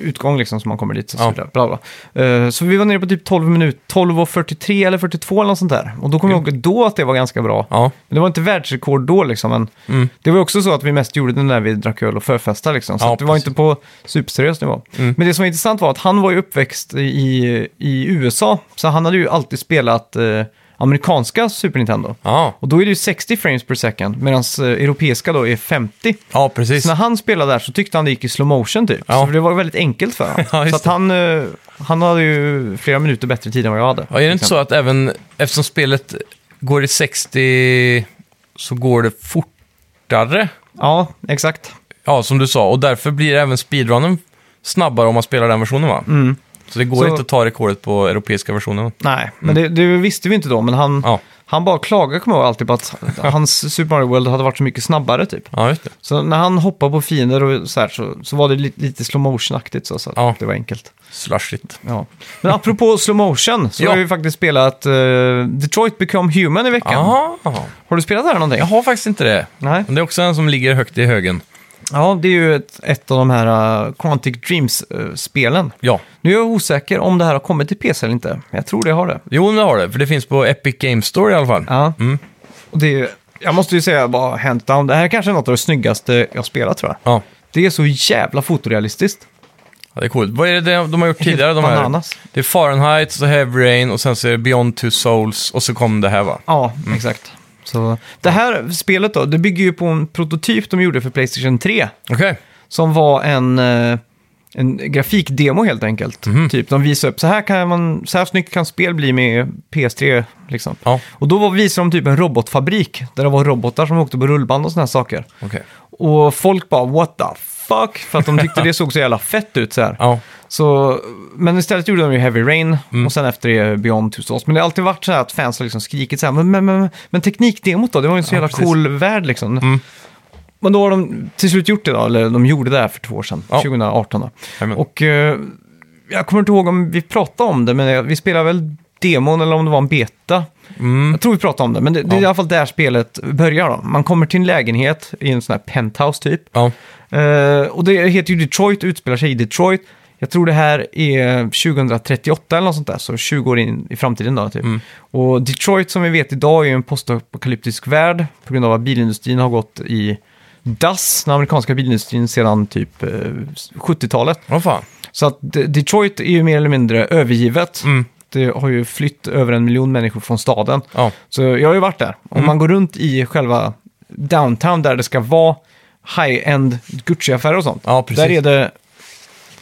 utgång liksom som man kommer dit. Och så,
Ja.
vidare. bla bla. Eh, så vi var nere på typ 12 minuter, 12 och 43 eller 42 eller något sånt där. Och då
Mm.
kom jag ihåg då att det var ganska bra.
Ja,
Men det var inte världsrekord då liksom, men
Mm.
det var ju också så att vi mest gjorde det när vi drack öl och förfestade liksom. Så
Ja,
att det var
precis. Mm.
inte på superseriös nivå. Men det som var intressant var att han var ju uppväxt i, i USA, så han hade ju alltid spelat eh, amerikanska Super Nintendo.
ja,
Och då är det ju 60 frames per second, medan eh, europeiska då är 50.
ja precis.
Så när han spelade där så tyckte han det gick i slow motion typ.
Ja.
Så det var väldigt enkelt för honom.
Ja, just
så att
det.
han, eh, han hade ju flera minuter bättre tid än vad jag hade.
Ja, är det inte så att även eftersom spelet går i 60 så går det fortare?
Ja, exakt.
Ja, som du sa. Och därför blir även speedrunnen snabbare om man spelar den versionen va? Mm. Så det går
Så-
inte att ta rekordet på europeiska versionen. Mm.
Nej, men det, det visste vi inte då. Men han,
Ja.
Han bara klagade, kommer jag ihåg, alltid på att hans Super Mario World hade varit så mycket snabbare typ.
Ja, just det.
Så när han hoppade på fiender och så här så, så var det li- lite slow motion-aktigt så, så att
Ja.
det var enkelt.
Slushigt.
Ja. Men apropå slow motion så
Ja.
har vi faktiskt spelat eh, Detroit Become Human i veckan.
Ja.
Har du spelat det här någonting?
Jag har faktiskt inte det.
Nej.
Men det är också en som ligger högt i högen.
Ja, det är ju ett, ett av de här eh, Quantic Dreams-spelen.
Ja.
nu är jag osäker om det här har kommit till PC eller inte. Jag tror det har det.
Jo, men det har det. För det finns på Epic Games Store i alla fall.
Ja.
Mm.
Och det är, ju- jag måste ju säga bara hands down, det här är kanske är något av det snyggaste jag spelat tror jag.
Ja.
Det är så jävla fotorealistiskt.
Ja, det är coolt. Vad är det de har gjort tidigare? De här?
Bananas.
Det är Fahrenheit, så Heavy Rain och sen så är det Beyond Two Souls och så kom det här va?
Ja, mm. exakt. Så, det här spelet då, det bygger ju på en prototyp de gjorde för Playstation 3.
Okej.
Som var en, eh, en grafikdemo helt enkelt. Typ, de visade upp, så här, kan man, så här snyggt kan spel bli med PS3. Liksom.
Ja.
Och då var, visade de typ en robotfabrik, där det var robotar som åkte på rullband och såna här saker.
Okej.
Och folk bara what the fuck? För att de tyckte det såg så jävla fett ut så här.
Ja.
Så, men istället gjorde de ju Heavy Rain
Mm.
och sen efter det Beyond Two Souls. Men det har alltid varit så här att fans har liksom skrikit så här, men, men, men, men teknikdemot då? Det var ju en så
Ja,
jävla
precis. Mm.
cool värld liksom. Men då har de till slut gjort det då, eller de gjorde det här för två år sedan,
Ja.
2018 då.
Jajamän.
Och eh, jag kommer inte ihåg om vi pratade om det, men jag- vi spelade väl demon eller om det var en beta. Jag tror vi pratade om det, men det, det är
Mm. Ja.
i alla fall där spelet börjar då. Man kommer till en lägenhet i en sån här penthouse typ.
Ja.
Eh, och det heter ju Detroit, utspelar sig i Detroit. Jag tror det här är 2038 eller något sånt där, så 20 år in i framtiden då typ. Och Detroit som vi vet idag är ju en postapokalyptisk värld på grund av att bilindustrin har gått i dass, den amerikanska bilindustrin, sedan typ eh, 70-talet.
Vad fan.
Så att De- Detroit är ju mer eller mindre övergivet. Det har ju flytt över en miljon människor från staden.
Ja.
Så jag har ju varit där.
Mm.
Om man går runt i själva downtown där det ska vara high-end Gucci-affärer och sånt.
Ja, precis.
Där är det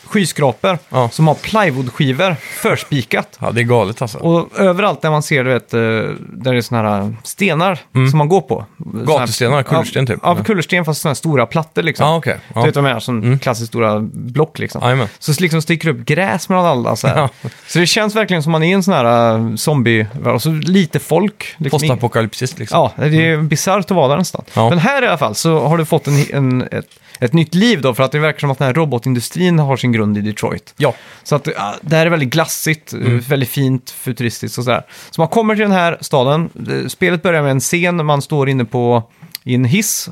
skyskrapor
Ja.
som har plywoodskivor förspikat.
ja, det är galet alltså.
Och överallt där man ser, du vet, eh, där det är såna här stenar som man går på.
Mm. Gatustenar,
Såna här-
kullersten typ.
Ja, kullersten fast sådana här stora plattor liksom.
Ja, okej.
Du
Ja. Mm.
vet vad jag menar, som klassiskt stora block liksom.
Jajamän.
Så liksom sticker upp gräs mellan alla så här.
Ja.
Så det känns verkligen som man är i en sån här äh, zombie och så lite folk. Liksom.
Postapokalyptiskt liksom.
Ja, det är bisarrt att vara där nästan.
Ja.
Men här i alla fall så har du fått en, en, ett, ett nytt liv då, för att det verkar som att den här robotindustrin har sin grund i Detroit.
Ja.
Så att, ja, det här är väldigt glassigt, eh,
Mm.
väldigt fint, futuristiskt och sådär. Så man kommer till den här staden, Eh, spelet börjar med en scen, man står inne på, i en hiss.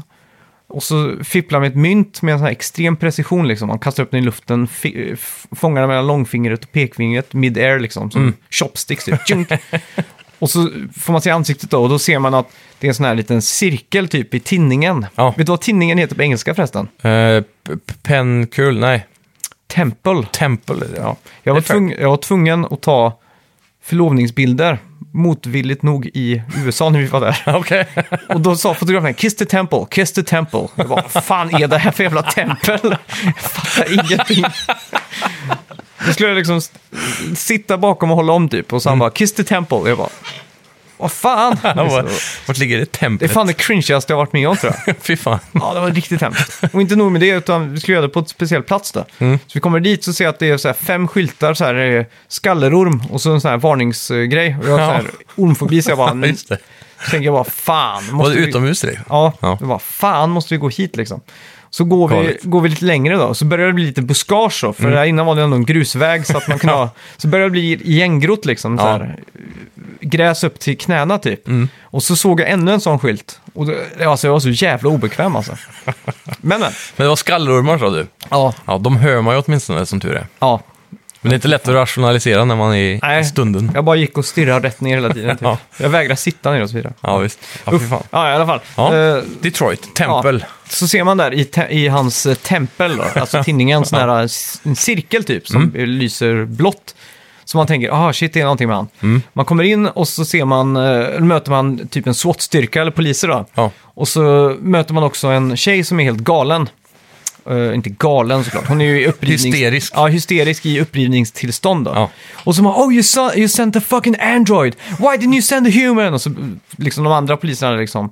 Och så fipplar med ett mynt med en sån här extrem precision liksom. Man kastar upp den i luften, fi- f- fångar den mellan långfingret och pekfingret, mid-air liksom.
Mm.
Som chopsticks typ. Tjunk! och så får man se ansiktet då och då ser man att det är en sån här liten cirkel typ i tinningen.
Ja.
Vet du vad tinningen heter på engelska förresten?
Eh, p- p- Penkul, nej.
Tempel.
Tempel är det. Ja.
Jag var,
Det är fair.
tvung, jag var tvungen att ta förlovningsbilder, motvilligt nog, i USA när vi var där.
Okej.
Och då sa fotografen “Kiss the temple, kiss the temple”. Jag bara, vad fan är det här för jävla tempel? Jag fattar ingenting. Då skulle jag liksom s- sitta bakom och hålla om typ, och så han bara “Kiss the temple”. Jag bara, vad fan?
Mm. Ja, vad- Vart ligger det
Det är
templet?
fan det cringigaste jag varit med om tror jag.
Fy fan.
Ja, det var riktigt hemskt. Och inte nog med det, utan vi skulle göra det på en speciell plats då.
Mm.
Så vi kommer dit så ser jag att det är så här fem skyltar, så här eh, skallerorm och så en sån här varningsgrej. Och jag har
Ja.
så här ormfobi, så jag bara...
Ja, just det.
Så tänker jag bara, fan.
Var
måste
det
vi-
utomhus det?
Ja,
Ja.
jag bara, fan måste vi gå hit liksom. Så går vi,
Galet. Mm.
går vi lite längre då, så börjar det bli lite buskage då, för där innan var det ändå en grusväg så att man kunde ha, så börjar det bli igengrott liksom, så
Ja. Mm.
här, gräs upp till knäna typ. Och så såg jag ännu en sån skylt, och det, alltså jag var så jävla obekväm alltså. Men men,
Men det var skallerormar sa du?
ja,
Ja, de hör man ju åtminstone som tur är.
ja.
Men det är inte lätt att rationalisera när man är i
Nej.
stunden.
Jag bara gick och stirrade rätt ner hela tiden typ.
Ja.
Jag vägrar sitta ner och så vidare.
Ja, visst. Ja, fy
Uff.
fan.
Ja, i alla fall.
Ja.
Eh,
Detroit, tempel.
Ja, så ser man där i, te- i hans eh, tempel, då, alltså tinningen, sån här s- en cirkel typ som
Mm.
eh, lyser blått. Så man tänker, ah shit, det är någonting med han.
Mm.
Man kommer in och så ser man, eh, möter man typ en SWAT-styrka eller poliser då.
Ja.
Och så möter man också en tjej som är helt galen. Eh, inte galen såklart, hon är ju i upprivnings...
Hysterisk.
Ja, hysterisk i upprivningstillstånd då.
Ja.
Och så man, oh you, sa- you sent the fucking android, why didn't you send the human? Och så liksom de andra poliserna liksom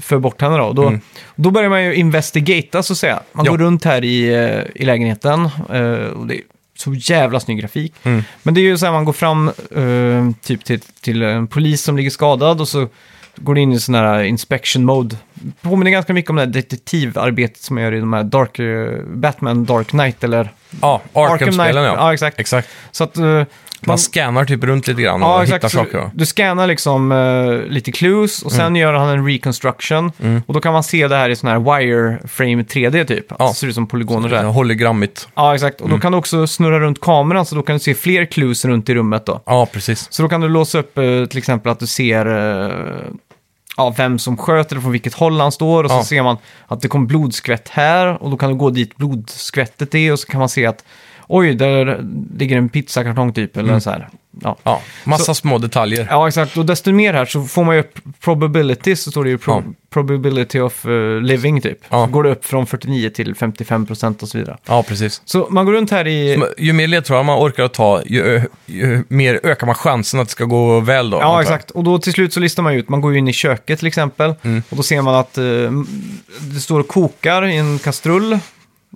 för bort henne då. Och då, då börjar man ju investigata så att säga. Man
Mm. Ja.
går runt här i, eh, i lägenheten eh, och det är så jävla snygg grafik.
Mm.
Men det är ju så här, man går fram eh, typ till, till en polis som ligger skadad och så går det in i sån här inspection mode. Påminner ganska mycket om det här detektivarbetet som jag gör i de här Dark, eh, Batman Dark Knight eller...
Ja, Arkham-spelen
Knight.
ja.
Ja, exakt.
Exakt.
Så att... eh,
Man scannar typ runt lite grann och hittar
Så
saker. Mm.
Du scannar liksom eh, lite clues och sen gör han en reconstruction. Och då kan man se det här i sån här wireframe 3D typ. Att
Ja.
Det ser ut som polygoner där.
Ja, Hologrammigt.
Ja, exakt.
Mm.
Och då kan du också snurra runt kameran så då kan du se fler clues runt i rummet då.
Ja, precis.
Så då kan du låsa upp eh, till exempel att du ser eh, ja, vem som sköt eller från vilket håll han står. Och så
Ja.
ser man att det kom blodskvätt här och då kan du gå dit blodskvättet är och så kan man se att oj, där ligger en pizzakartong typ.
Mm.
Eller så här. Ja.
Ja, massa små detaljer.
Ja, exakt. Och desto mer här så får man ju upp probabilities, så står det ju pro-
Ja.
probability of eh, living typ.
Ja.
Så går det upp från 49 till 55 procent och så vidare.
Ja, precis.
Så man går runt här i...
Men Ju mer ledtrådar man orkar att ta, ju, ö- ju mer ökar man chansen att det ska gå väl då. antar
Ja,
jag.
exakt. Och då till slut så listar man ju ut, man går ju in i köket till exempel.
Mm.
Och då ser man att eh, det står och kokar i en kastrull.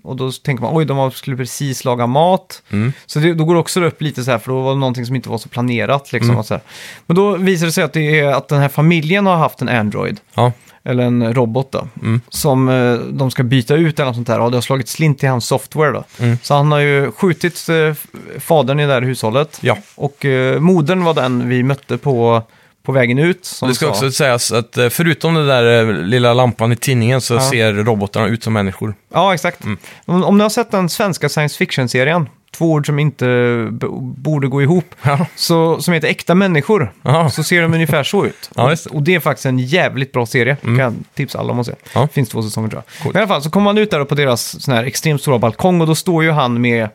Och då tänker man, oj, de har- skulle precis laga mat.
Mm.
Så det, då går det också upp lite så här, för då var det någonting som inte var så planerat. Liksom,
Mm.
och så här. Men då visar det sig att, det är, att den här familjen har haft en Android.
Ja,
Eller en robot då.
Mm.
Som eh, de ska byta ut eller något sånt där. Ja, det har slagit slint i hans software då.
Mm.
Så han har ju skjutit eh, fadern i det här hushållet.
Ja.
Och eh, modern var den vi mötte på, på vägen ut. Som
det ska
sa,
också sägas att eh, förutom den där eh, lilla lampan i tidningen så
Ja.
ser robotarna ut som människor.
Ja, exakt.
Mm.
Om, om ni har sett den svenska science fiction-serien, två ord som inte b- borde gå ihop,
Ja.
så, som heter Äkta människor,
Ja.
så ser de ungefär så ut.
Ja, just det. Mm.
och, och det är faktiskt en jävligt bra serie, kan jag tipsa alla om att se.
Ja.
finns två säsonger tror jag. Men I alla fall så kommer man ut där på deras sån här extremt stora balkong och då står ju han med,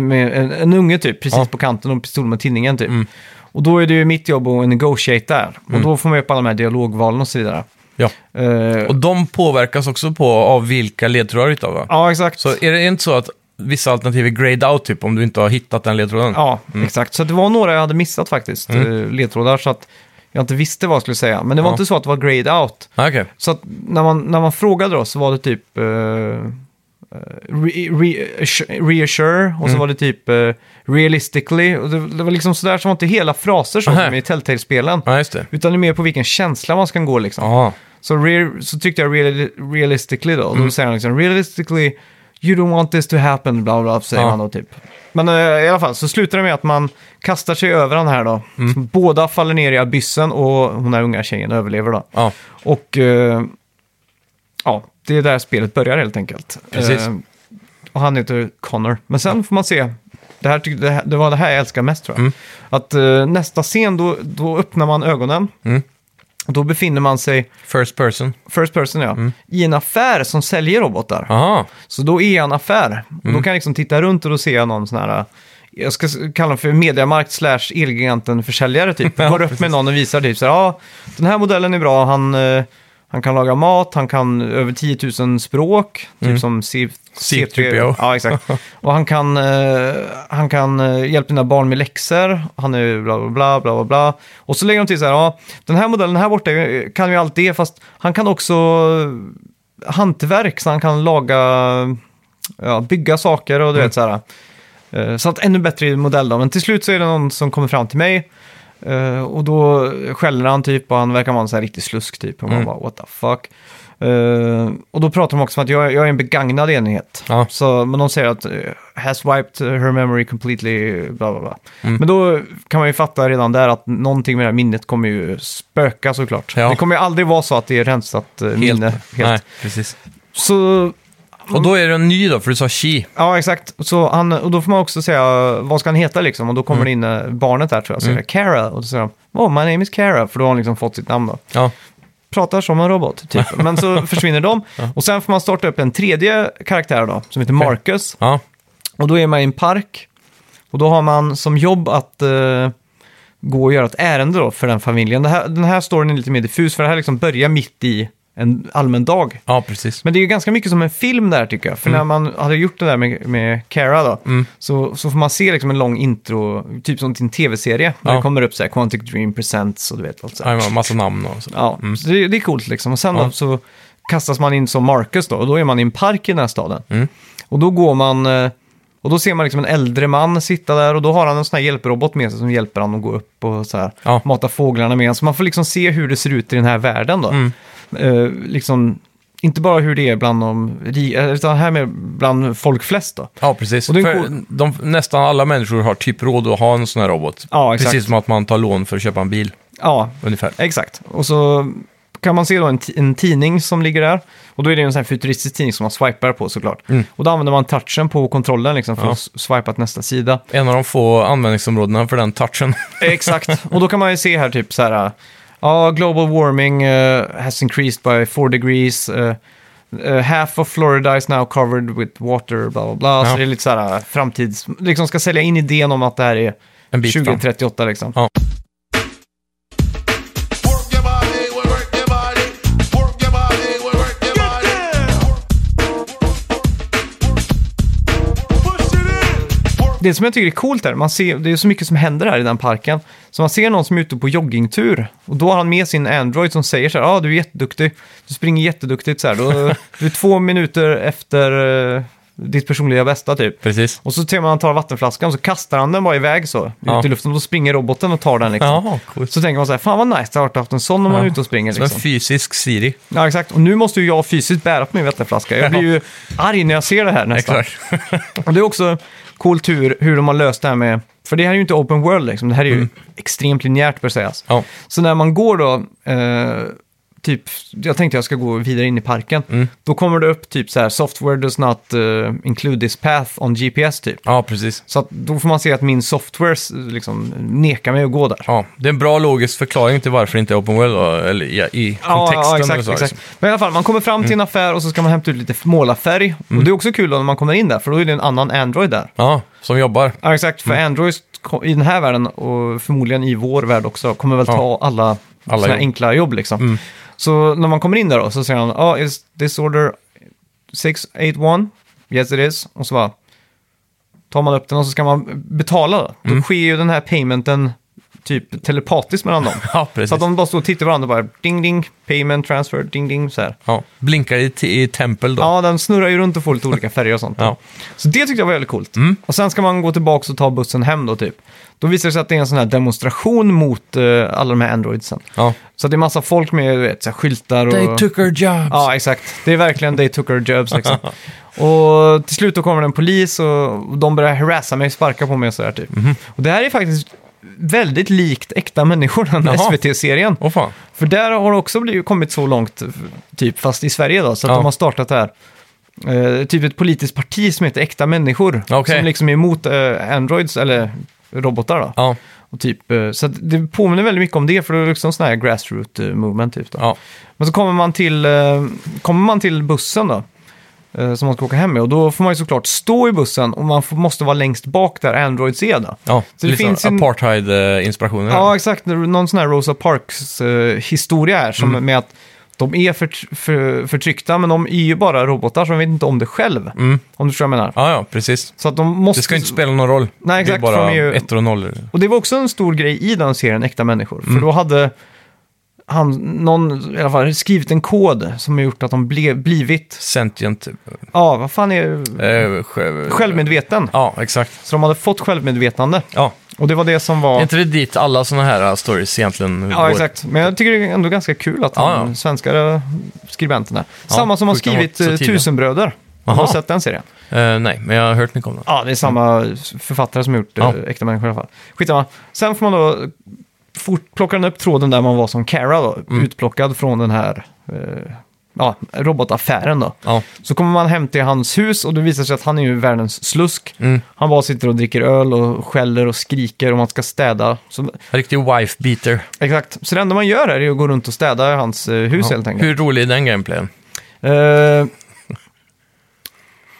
med en, en unge typ, precis
Ja. Mm.
på kanten och en pistol med tinningen typ. Och då är det ju mitt jobb att negotiate där. Och då får man upp alla de här dialogvalen och så vidare.
Ja.
Eh,
Och de påverkas också på av vilka ledtrådar du hittar va?
ja, exakt.
Så är det inte så att vissa alternativ är grayed out typ om du inte har hittat den ledtråden?
Ja,
Mm.
exakt. Så det var några jag hade missat faktiskt, eh, ledtrådar, så att jag inte visste vad jag skulle säga. Men det var
Ja.
inte så att det var grayed out.
Ah, Okej.
Så att när man, när man frågade då så var det typ eh, eh, re, re, reassure och
Mm.
så var det typ eh, realistically. Och det, det var liksom sådär som var inte hela fraser så
Aha.
som i Telltale-spelen.
Ja, just det.
Utan det är mer på vilken känsla man ska gå liksom.
Ja,
Så, re, så tyckte jag real, realistically då. Och
Mm.
Då säger han liksom realistically you don't want this to happen, bla bla, säger
Ja.
han då typ. Men eh, i alla fall så slutar det med att man kastar sig över han här då.
Mm.
Så Båda faller ner i abyssen och hon här unga tjejen överlever då.
ja.
Och eh, ja, det är där spelet börjar helt enkelt.
Precis.
Eh, och han heter Connor. Men sen får man se. Det, här, tyck- det, här, det var det här jag älskar mest
Mm.
tror jag. Att eh, nästa scen, då, då öppnar man ögonen.
Mm.
Och då befinner man sig
First person.
First person ja. I en affär som säljer robotar.
Aha.
Så då är jag en affär. Och Då kan jag liksom titta runt och då ser jag någon sån här... eh, Jag ska s- kalla dem för mediamarkt slash Elgiganten-försäljare typ. Går upp med någon och visar typ så här, ja, den här modellen är bra, han, eh, han kan laga mat, han kan över 10 000 språk, typ som C- typ,
C3PO.
Ja, exakt. Och han kan, eh, han kan eh, hjälpa dina barn med läxor, han är bla bla bla bla bla bla. Och så lägger de till så här, ja, den här modellen här borta eh, kan ju allt det, fast han kan också eh, hantverk, så han kan laga ja, bygga saker och du
Mm.
vet så här. Eh, Så att ännu bättre modell då. Men till slut så är det någon som kommer fram till mig. eh, Och då skäller han typ och han verkar vara en sån här riktig slusk typ. Och man
Mm.
bara what the fuck. Eh, och då pratar de också om att jag, jag är en begagnad enhet.
Ja.
Så, men de säger att eh, has wiped her memory completely, bla bla bla.
Mm.
Men då kan man ju fatta redan där att någonting med det här minnet kommer ju spöka såklart.
Ja.
Det kommer ju aldrig vara så att det är rensat eh, minne helt.
Nej, precis.
Så
Och då är det en ny då, för du sa chi.
Ja, exakt. Så han, och då får man också säga vad ska han heta liksom. Och då kommer det in eh, barnet där tror jag. Så är det Cara. Och då säger han oh, my name is Cara. För då har han liksom fått sitt namn då.
Ja.
Pratar som en robot, typ. Men så försvinner de. Och sen får man starta upp en tredje karaktär då, som heter Marcus.
Ja.
Och då är man i en park. Och då har man som jobb att eh, gå och göra ett ärende då för den familjen. Det här, den här storyn är lite mer diffus, för det här liksom börjar mitt i en allmän dag.
ja, precis. Mm.
Men det är ju ganska mycket som en film där tycker jag. För när man hade gjort det där med, med Cara då, så, så får man se liksom en lång intro, typ som till en tv-serie. När
Ja.
det kommer upp så här, Quantic Dream Presents och du vet allt så här.
Ja, massa namn och så.
Ja, så det, det är coolt liksom. Och sen
Mm. Ja.
då, så
Mm.
kastas man in som Marcus då, och då är man i en park i den här staden. Och då går man eh, Och då ser man liksom en äldre man sitta där och då har han en sån här hjälprobot med sig som hjälper han att gå upp och så här,
Ja.
mata fåglarna med en. Så man får liksom se hur det ser ut i den här världen då.
Mm.
Eh, liksom, inte bara hur det är bland de ri- eh, utan här med bland folk flest då.
Ja, precis.
Och det är
För
cool-
de, nästan alla människor har typ råd att ha en sån här robot.
Ja, exakt.
Precis som att man tar lån för att köpa en bil,
Ja,
ungefär.
Exakt. Och så kan man se då en, ti- en tidning som ligger där. Och då är det en sån här futuristisk tidning som man swipar på såklart. Och då använder man touchen på kontrollen liksom för
Mm. Ja.
att s- swipa till nästa sida.
En av de få användningsområdena för den touchen.
Exakt. Och då kan man ju se här typ så här. Ja, global warming eh, has increased by 4 degrees. eh, eh, half of Florida is now covered with water, bla bla bla.
Ja.
Så det är lite så här framtids... Liksom ska sälja in idén om att det här är
En bit fram.
2038 liksom.
Ja.
Work your body, work- work your body, work your body, work- work your body.
Det som jag tycker är coolt är man ser, det är så mycket som händer här i den parken. Så man ser någon som är ute på joggingtur och då har han med sin Android som säger så här, ja ah, du är jätteduktig, du springer jätteduktigt så här, då, du är två minuter efter eh, ditt personliga bästa typ.
Precis.
Och så ser man att han tar vattenflaskan så kastar han den bara iväg så,
Ja.
ut i luften och då springer roboten och tar den liksom.
Ja, coolt.
Så tänker man så här, fan vad nice det har varit att ha haft en sån när man
Ja.
är ute och springer
Som en
liksom.
fysisk Siri.
Ja, exakt. Och nu måste ju jag fysiskt bära på min vattenflaska. Jag blir ju arg när jag ser det här nästan.
Exakt.
Och det är också coolt hur, hur de har löst det här med... För det här är ju inte open world liksom. Det här är ju extremt linjärt bör sägas.
Mm. Ja.
Så när man går då, eh, typ, jag tänkte jag ska gå vidare in i parken.
Mm.
Då kommer det upp typ så här, software does not eh, include this path on GPS typ.
ja, precis.
Så att, då får man se att min software s- liksom nekar mig att gå där.
Ja, det är en bra logisk förklaring till varför det inte är open world, då, eller i, i kontexten. eller
exakt,
så,
exakt.
liksom. Mm.
Men i alla fall, man kommer fram till en affär och så ska man hämta ut lite målarfärg. Och det är också kul då när man kommer in där, för då är det en annan Android där.
Ja, som jobbar.
Ja, exakt. För
Mm.
Android ko- i den här världen och förmodligen i vår värld också kommer väl ta
Ja.
alla,
Alla
såna här
jobb. Mm.
enkla jobb liksom. Så när man kommer in där då så säger han ja, is this order 681? Yes it is. Och så bara tar man upp den och så ska man betala. Då,
Mm.
då sker ju den här paymenten typ telepatiskt mellan dem.
Ja, precis.
så att de bara står och tittar på varandra och bara ding ding, payment transfer, ding ding så här.
Ja, blinkar i, t- i tempel då.
Ja, den snurrar ju runt och får lite olika färger och sånt.
Ja. Mm.
Så det tyckte jag var väldigt coolt. Och sen ska man gå tillbaka och ta bussen hem då typ. Då visar det sig att det är en sån här demonstration mot eh, alla de här Androidsen.
Ja.
Så det är massa folk med du vet, så här, skyltar och...
our jobs.
Ja, exakt. Det är verkligen they took our jobs liksom. och till slut då kommer det en polis och de börjar harassa mig, sparka på mig och sådär typ.
Mhm.
Och det här är faktiskt väldigt likt äkta människor, den
Jaha.
SVT-serien.
Åh fan.
För där har det också blivit, kommit så långt, typ, fast i Sverige då, så att
Ja.
de har startat det här. Eh, typ ett politiskt parti som heter Äkta Människor.
Okej.
Som liksom är emot eh, Androids, eller robotar då.
Ja,
Och typ, eh, så att det påminner väldigt mycket om det, för det är liksom sån här grassroot eh, movement typ. Då.
ja.
Men så kommer man till, eh, kommer man till bussen då, eh, som man ska åka hem med. Och då får man ju såklart stå i bussen och man får, måste vara längst bak där Androids är då.
ja.
Så det
Lite
finns en-
apartheid-inspirationer.
Ja, exakt. Någon sån här Rosa Parks-historia här, som
Mm.
med att de är för, för, förtryckta, men de är ju bara robotar, så de vet inte om det själv. Om du förstår vad jag menar.
Mm. ja, ja, precis.
Så att de måste...
Det ska inte spela någon roll.
Nej,
det är
exakt,
bara
för de är ju-
ettor och nollor.
Och det var också en stor grej i den serien, Äkta människor.
Mm.
För då hade han, någon i alla fall, skrivit en kod som har gjort att de blev, blivit,
Sentient...
ja, vad fan är
Eh, själv...
självmedveten.
Ja, exakt.
Så de hade fått självmedvetande.
Ja.
Och det var det som var...
Är inte det dit alla sådana här eh, stories egentligen
Ja, exakt. Men jag tycker det är ändå ganska kul att
Ja,
han,
ja.
svenska skribenten är.
Ja,
samma som har
sjukt, de
skrivit
var så
eh,
tidiga.
Tusenbröder. Har
Aha.
du sett den serien?
Eh, nej, men jag har hört mycket om den.
Ja, det är samma författare som har gjort eh,
Ja.
Äkta människor i alla fall. Skitsamma. Sen får man då eh, fort, plockar den upp tråden där man var som Cara då,
Mm.
utplockad från den här eh, ja, robotaffären då.
Ja,
Så kommer man hem till hans hus och det visar sig att han är ju världens slusk.
Mm.
Han bara sitter och dricker öl och skäller och skriker och man ska städa. Så,
riktig wife-beater.
exakt. Så det enda man gör här är att gå runt och städa i hans eh, hus helt enkelt.
Hur rolig är den gameplayen?
Eh,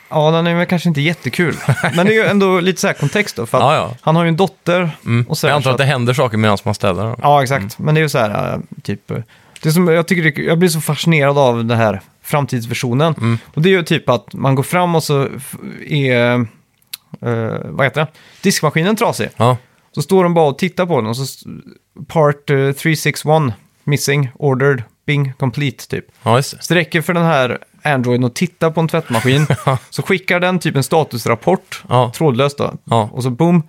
ja, den är väl kanske inte jättekul. Men det är ju ändå lite så här kontext då. För att
Ja, ja.
Han har ju en dotter.
Mm.
Och så
jag
här,
antar
så
att Mm. det händer saker medan man städar. då.
Ja, exakt. Men det är ju så här, eh, typ... eh, Det som jag, tycker det, jag blir så fascinerad av den här framtidsversionen.
Mm.
Och det är ju typ att man går fram och så f- är... eh, vad heter det? Diskmaskinen trasig.
Ja,
Så står de bara och tittar på den och så... s- Part eh, 361, missing, ordered, bing, complete typ.
ja just det.
Så det räcker för den här Android och tittar på en tvättmaskin. så skickar den typ en statusrapport,
Ja.
trådlöst då.
Ja.
Och så boom,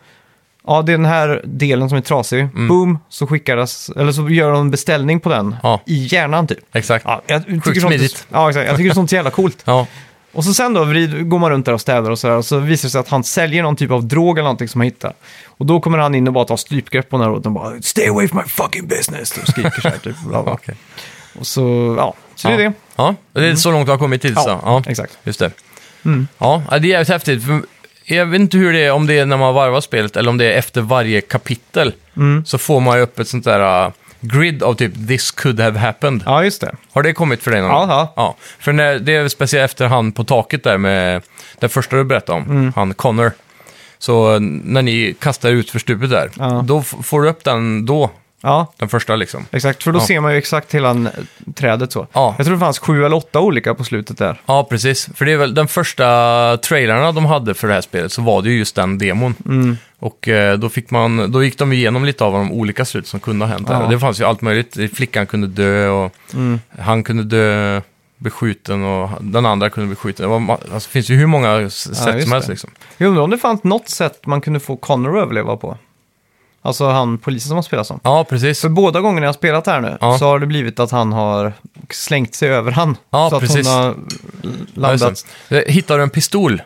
ja det är den här delen som är trasig.
Mm.
Boom, så skickas, eller så gör de en beställning på den
Ja.
i hjärnan typ.
Exakt.
Ja, jag tycker
Sjukt
sånt,
smidigt.
Ja, exakt. Jag tycker sånt är jävla coolt.
Ja.
Och så sen då vrid, går man runt där och städar och sådär. Och så visar det sig att han säljer någon typ av drog eller någonting som han hittar. Och då kommer han in och bara tar strypgrepp på den här och de bara “Stay away from my fucking business” och skriker så här typ. Bla, bla.
Okej.
Och så, ja. Så det är det.
Ja, det är så långt vi har kommit till. så.
Ja, exakt. Mm.
Just det. Ja, det är jävligt häftigt. För Jag vet inte hur det är, om det är när man varvar spelet eller om det är efter varje kapitel.
Mm.
Så får man ju upp ett sånt där uh, grid av typ “This could have happened”.
Ja, just det.
Har det kommit för dig någon
Ja,
gång?
ja.
ja. För när, det är speciellt efter han på taket där med den första du berättade om,
Mm.
han Connor. Så när ni kastar ut för stupet där,
Ja.
då f- får du upp den då,
Ja,
den första liksom.
exakt. För då
Ja.
ser man ju exakt hela n- trädet så.
Ja.
Jag tror det fanns sju eller åtta olika på slutet där.
Ja, precis. För det är väl den första trailerna de hade för det här spelet så var det ju just den demon.
Mm.
Och eh, då, fick man, då gick de igenom lite av de olika slut som kunde ha hänt där.
Ja. Mm.
Och Det fanns ju allt möjligt. Flickan kunde dö och han kunde dö, bli skjuten och den andra kunde bli skjuten. Det var, ma- alltså, det finns ju hur många s- sätt
just
som helst
det.
liksom.
Jag undrar om det fanns något sätt man kunde få Connor att överleva på. Alltså han polisen som har spelat som.
Ja, precis.
För båda gångerna jag har spelat här nu
Ja.
så har det blivit att han har slängt sig över han.
Ja,
så
precis.
att hon har
Ja, det är
landat.
sant. Eh, Hittar du en pistol?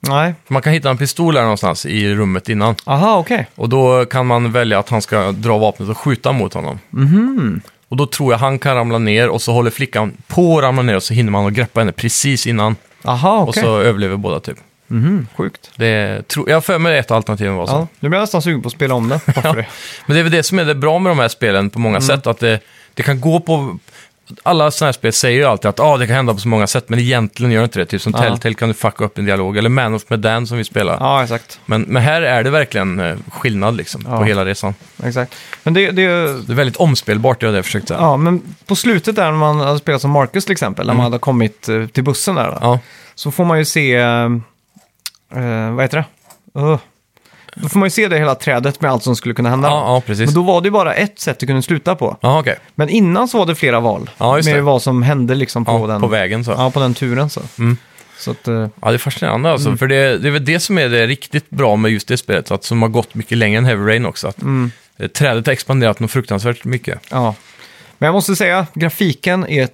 Nej.
Man kan hitta en pistol här någonstans i rummet innan.
Aha, okej.
Och då kan man välja att han ska dra vapnet och skjuta mot honom.
Mm-hmm.
Och då tror jag han kan ramla ner och så håller flickan på att ramla ner och så hinner man att greppa henne precis innan.
Aha,
Och
okej. Mhm,
så överlever båda typ.
Sjukt.
Det tror, jag har för mig ett alternativ var så.
Ja, nu blir jag nästan sugen på att spela om det. Varför det? Mm.
Men det är väl det som är det bra med de här spelen på många sätt. Att det, det kan gå på... Alla sådana här spel säger ju alltid att ah, det kan hända på så många sätt, men egentligen gör det inte det. Typ som
Ja.
Telltale kan du fucka upp en dialog, eller Man of Medan som vi spelar.
Ja, exakt.
Men, men här är det verkligen eh, skillnad liksom,
Ja.
på hela resan.
exakt. Men det, det,
Det är väldigt omspelbart, det var det jag försökte säga.
ja, men på slutet där när man hade spelat som Marcus till exempel, när man hade kommit eh, till bussen där, då,
Mm. Ja.
så får man ju se, eh, eh, vad heter det? Öh. då får man ju se det hela trädet med allt som skulle kunna hända.
Ja, ja, precis.
Men då var det ju bara ett sätt du kunde sluta på.
Ja, okej.
Men innan så var det flera val.
Ja, just
med
det.
vad som hände liksom på
Ja,
den
på vägen så. Ja,
Ja, på den turen så.
Mm.
Så att, eh,
det är fascinerande alltså. För det, det är väl det som är det riktigt bra med just det spelet, att som har gått mycket längre än Heavy Rain också. Att
Mm.
eh, Trädet har expanderat något fruktansvärt mycket.
ja. Men jag måste säga, grafiken är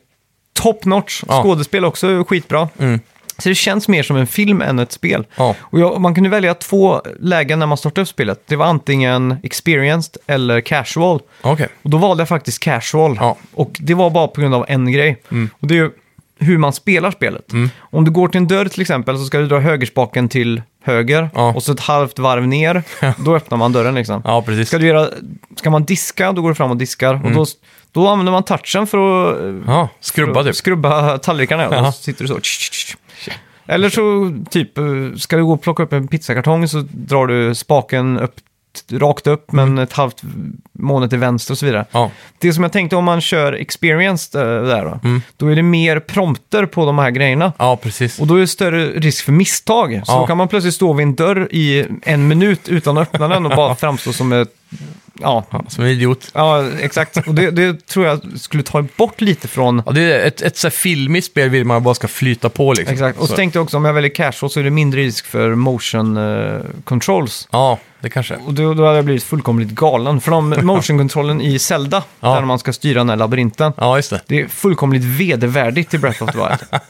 top notch.
Ja.
Skådespel också är skitbra.
Mm.
Så det känns mer som en film än ett spel.
Ja.
Och jag, man kunde välja två lägen när man startade upp spelet. Det var antingen experienced eller casual.
Okej.
Och då valde jag faktiskt casual.
Ja. Mm.
Och det var bara på grund av en grej. Och det är ju hur man spelar spelet. Om du går till en dörr till exempel så ska du dra högerspaken till höger
Ja.
och så ett halvt varv ner. Då öppnar man dörren liksom.
Ja, precis. Mm.
Ska, du göra, ska man diska, då går du fram och diskar. Och då, då använder man touchen för att eh,
Ja, skrubba typ.
skrubba tallrikarna. Ja.
Ja.
Då sitter du så. tsch, tsch, tsch. Eller så typ, eh, ska du gå och plocka upp en pizzakartong så drar du spaken upp, rakt upp men ett halvt måne till vänster och så vidare.
Mm. Ja,
Det som jag tänkte om man kör experience eh, där då,
Mm.
då är det mer prompter på de här grejerna.
ja precis.
Och då är det större risk för misstag. Så
Ja.
då kan man plötsligt stå vid en dörr i en minut utan att öppna den och bara framstå som ett... Ja,
Ja, som en idiot.
ja exakt. Och det, det tror jag skulle ta bort lite från...
Ja, det är ett, ett så här filmiskt spel vill man bara ska flyta på liksom.
Exakt. Och så
så.
tänkte jag också, om jag väljer casual så är det mindre risk för motion eh, controls.
Ja, det kanske är.
Och då, då hade jag blivit fullkomligt galen. För de motion-kontrollen i Zelda,
Ja.
där man ska styra den här labyrinten,
Ja, just det.
Det är fullkomligt vedervärdigt till Breath of the Wild.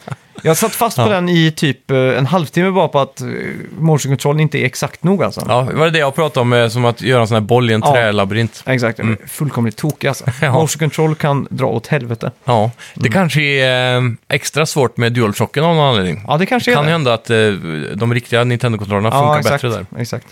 Jag satt fast på den i typ eh, en halvtimme bara på att eh, motionkontrollen inte är exakt nog alltså.
Ja, var det det jag pratade om, eh, som att göra en sån här boll i en
Ja.
trälabyrint?
Exakt, jag är fullkomligt tokig alltså.
Mm. Ja.
Motion control kan dra åt helvete.
Ja, det
Mm.
kanske är eh, extra svårt med DualShocken av någon anledning.
Ja, det kanske
Det
är
kan ju
det.
hända att eh, de riktiga Nintendo-kontrollerna
ja,
funkar
exakt,
bättre där.
Exakt.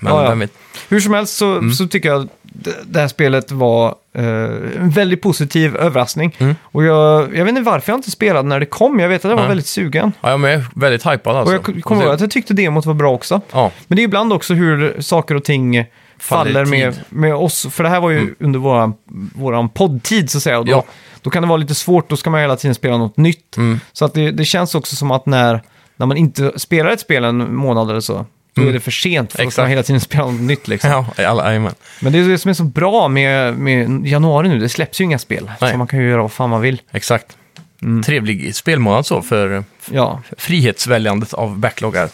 Men
Ja, ja.
vem vet?
Hur som helst så,
Mm.
så tycker jag det, det här spelet var eh, en väldigt positiv överraskning. Och jag, jag vet inte varför jag inte spelade när det kom. Jag vet att jag var
Mm. Nej.
väldigt sugen.
Ja, jag är väldigt hypad
Och
alltså.
jag k- kommer
Och
ihåg
det-
att jag tyckte demot var bra också.
Ja,
Men det är ibland också hur saker och ting
Faller i
faller med,
tid. Mm.
med oss. För det här var ju under våran, våran poddtid så att säga. Och då,
Ja. Mm.
då kan det vara lite svårt, då ska man hela tiden spela något nytt. Så att det, det känns också som att när, när man inte spelar ett spel en månad eller så, då är det för sent för att
Mm. Exakt.
man hela tiden spela något nytt. Liksom.
ja alla, jajamän.
Men det är det som är så bra med, med januari nu, det släpps ju inga spel.
Nej.
Så man kan ju göra vad fan man vill.
Exakt.
Mm.
Trevlig spelmånad så för
Ja,
frihetsväljandet av backloggar.
Work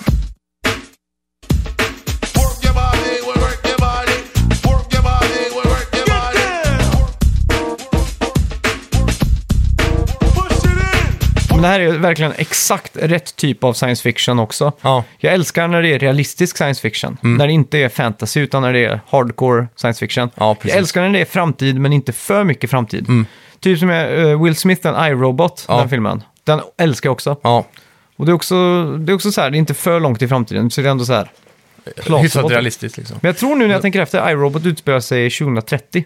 your body, well, work your body. Work your body, well, work your body.
men det här är ju verkligen exakt rätt typ av science fiction också.
Ja. Mm.
Jag älskar när det är realistisk science fiction. När det inte är fantasy utan när det är hardcore science fiction.
Ja, precis. Mm.
jag älskar när det är framtid men inte för mycket framtid. Typ som är eh, Will Smith, den iRobot,
Ja.
den filmen. Den älskar jag också.
Ja,
Och det är också, det är också så här, det är inte för långt i framtiden så det är ändå så här.
hyfsat
placerbart.
realistiskt liksom.
Men jag tror nu när jag tänker efter, iRobot utspelar sig 2030,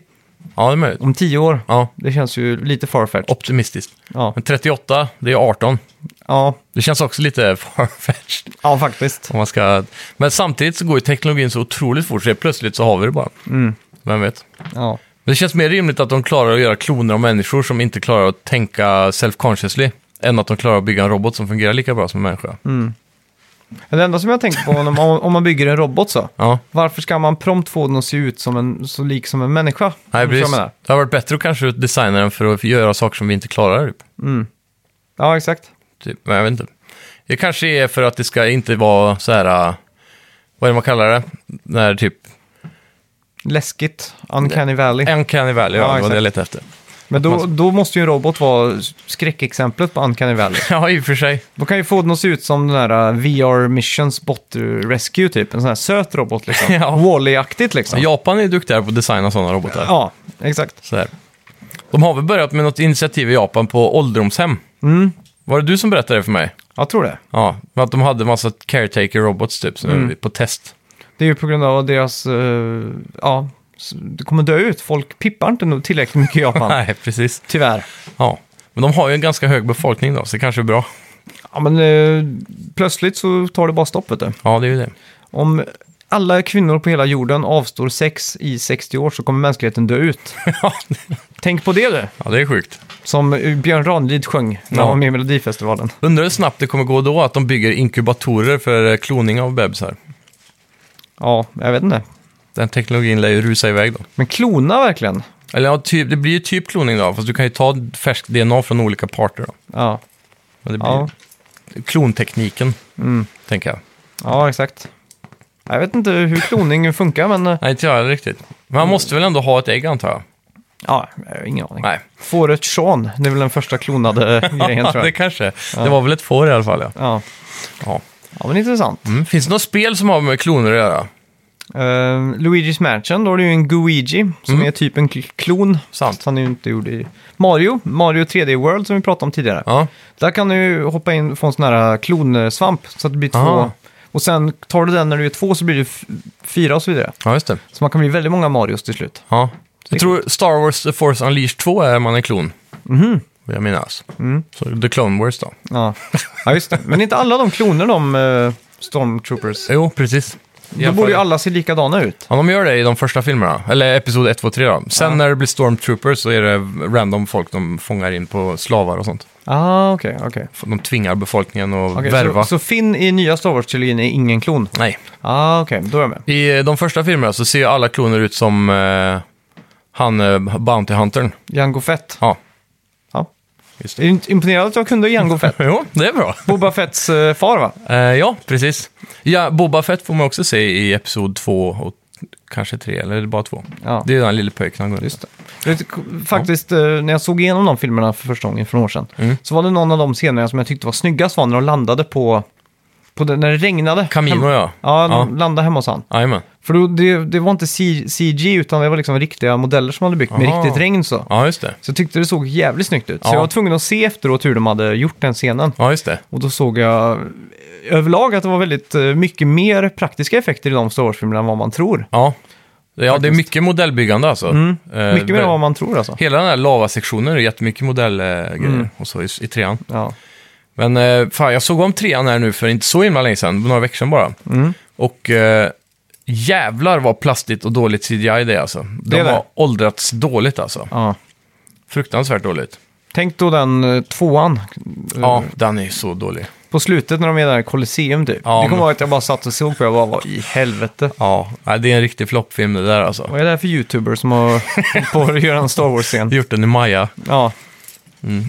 Ja, det är möjligt.
om tio år.
Ja,
Det känns ju lite farfetched.
optimistiskt.
Ja.
Men 38, det är 18.
Ja.
Det känns också lite farfetched.
ja, faktiskt.
Om man ska... Men samtidigt så går ju teknologin så otroligt fort, så helt plötsligt så har vi det bara. Vem vet?
Ja.
Men det känns mer rimligt att de klarar att göra kloner av människor som inte klarar att tänka self-consciously, än att de klarar att bygga en robot som fungerar lika bra som en människa.
Det enda som jag tänker på om, om man bygger en robot så,
Ja.
varför ska man prompt få den att se ut som en, så lik som en människa?
Nej,
Förstår du vad jag
precis.
menar?
Det har varit bättre att kanske designa den för att göra saker som vi inte klarar. Typ.
Ja, exakt.
Typ. Men jag vet inte. Det kanske är för att det ska inte vara så här, äh, vad är det man kallar det? När typ,
Läskigt, uncanny valley.
uncanny valley,
Ja,
ja, det var
exakt.
det jag letade efter.
Men då, då måste ju en robot vara skräckexemplet på uncanny valley.
Ja, i och för sig.
Då kan ju få den att se ut som den där uh, VR Missions Bot Rescue typ. En sån här söt robot liksom.
Ja.
Wall-E-aktigt liksom.
Japan är duktiga på att designa sådana robotar.
Ja, exakt.
Så här. De har väl börjat med något initiativ i Japan på ålderdomshem. Var det du som berättade det för mig?
Jag tror det.
Ja, men att de hade massa caretaker-robots typ, som är på test.
Det är ju på grund av deras, eh, ja, s- det kommer dö ut. Folk pippar inte nog tillräckligt mycket i Japan,
Nej, precis.
tyvärr.
Ja. Men de har ju en ganska hög befolkning då, så det kanske är bra.
Ja, men eh, plötsligt så tar det bara stopp, vet du.
Ja, det är ju det.
Om alla kvinnor på hela jorden avstår sex i 60 år så kommer mänskligheten dö ut.
ja,
Tänk på det du,
det är sjukt.
som eh, Björn Ranelid sjöng när
Ja.
han var med i Melodifestivalen.
Undrar hur snabbt det kommer gå då att de bygger inkubatorer för eh, kloning av bebisar.
Ja, jag vet inte.
Den teknologin lär ju rusa iväg då.
Men klona verkligen.
Eller ja, typ, det blir ju typ kloning då, fast du kan ju ta färskt DNA från olika parter då.
Ja,
Men det blir
ja,
klontekniken, tänker jag.
ja exakt. Jag vet inte hur kloning funkar, men eh,
Nej, inte jag heller riktigt. Men
Mm.
man måste väl ändå ha ett ägg antar jag?
ja, jag har ingen aning.
Nej.
Fåret Sean, det är väl den första klonade eh, grejen tror
det
jag.
kanske. Det var väl ett får i alla fall ja.
Ja.
ja.
Ja, men intressant.
Mm. Finns det något spel som har med kloner att göra?
Eh, Luigi's Mansion, då är det ju en Guigi som är typ en kl- klon.
Mm. Sant.
Fast Han är ju inte gjord i Mario, Mario 3D World som vi pratade om tidigare.
Ja.
Där kan du ju hoppa in och få en sån här eh, klonsvamp så att det blir
Ah.
två. Och sen tar du den när du är två så blir det f- fyra och så vidare.
ja, just det.
Så man kan bli väldigt många Marios till slut.
Ja.
Det är
Jag tror Star Wars The Force Unleashed 2 är man en klon. Mm.
Mhm.
Vill jag minnas.
Mm.
Så The Clone Wars då.
Ja, ja just det. Men inte alla de kloner de eh, Stormtroopers.
Jo, precis. I
Då
alla
borde ju
fall-
alla se likadana ut.
Ja, de gör det i de första filmerna. Eller Episod 1, 2, 3 då. Sen när det blir Stormtroopers så är det random folk de fångar in på slavar och sånt.
Ah, okej, okej.
De tvingar befolkningen att
Okej,
värva.
så, så Finn i nya Star Wars-trilogin är ingen klon?
Nej.
Ah, okej, då är jag med.
I eh, de första filmerna så ser ju alla kloner ut som eh, han eh, Bounty Huntern.
Jango Fett.
Ja,
Ja.
Just
Är du inte imponerad att jag kunde Jango Fett?
jo, det är bra.
Boba Fetts eh, far va?
Eh, ja, precis. Ja, Boba Fett får man också se i Episod 2 och kanske 3, eller är det bara 2?
Ja.
Det är den lille pojken han går Just
Jag vet, k- faktiskt, eh, när jag såg igenom de filmerna för första gången för några år sedan,
Mm.
så var det någon av de scenerna som jag tyckte var snyggast var när de landade på, på det, när det regnade.
Camino,
Hem-
ja.
Ja,
Ja.
de landade hemma hos han.
Jajamän.
För då, det, det var inte C- CG, utan det var liksom riktiga modeller som hade byggt med
Aha.
riktigt regn så.
Ja, just det.
Så jag tyckte det såg jävligt snyggt ut. Så
Ja.
jag var tvungen att se efteråt hur de hade gjort den scenen.
Ja, just det.
Och då såg jag eh, överlag att det var väldigt eh, mycket mer praktiska effekter i de Star Wars-filmerna än vad man tror.
Ja, ja det är mycket modellbyggande alltså. Eh,
Mm. Mycket mer än vad man tror alltså.
Hela den här lavasektionen är jättemycket modellgrejer
Mm.
och så i, i trean.
Ja.
Men eh, fan, jag såg om trean här nu för inte så himla länge sedan, några veckor sedan bara.
Mm.
Och eh, jävlar vad plastigt och dåligt CGI det är alltså. De
Det är det.
har åldrats dåligt alltså.
Ja.
Fruktansvärt dåligt.
Tänk då den eh, tvåan eh,
Ja, den är ju så dålig.
på slutet när de är där i Colosseum typ.
Ja,
det kommer
men-
ihåg att jag bara satt och såg på det och bara, vad i helvete.
Ja, nej, det är en riktig floppfilm det där alltså.
Vad är det här för youtuber som har på att göra en Star Wars-scen?
Gjort den i Maja.
Ja.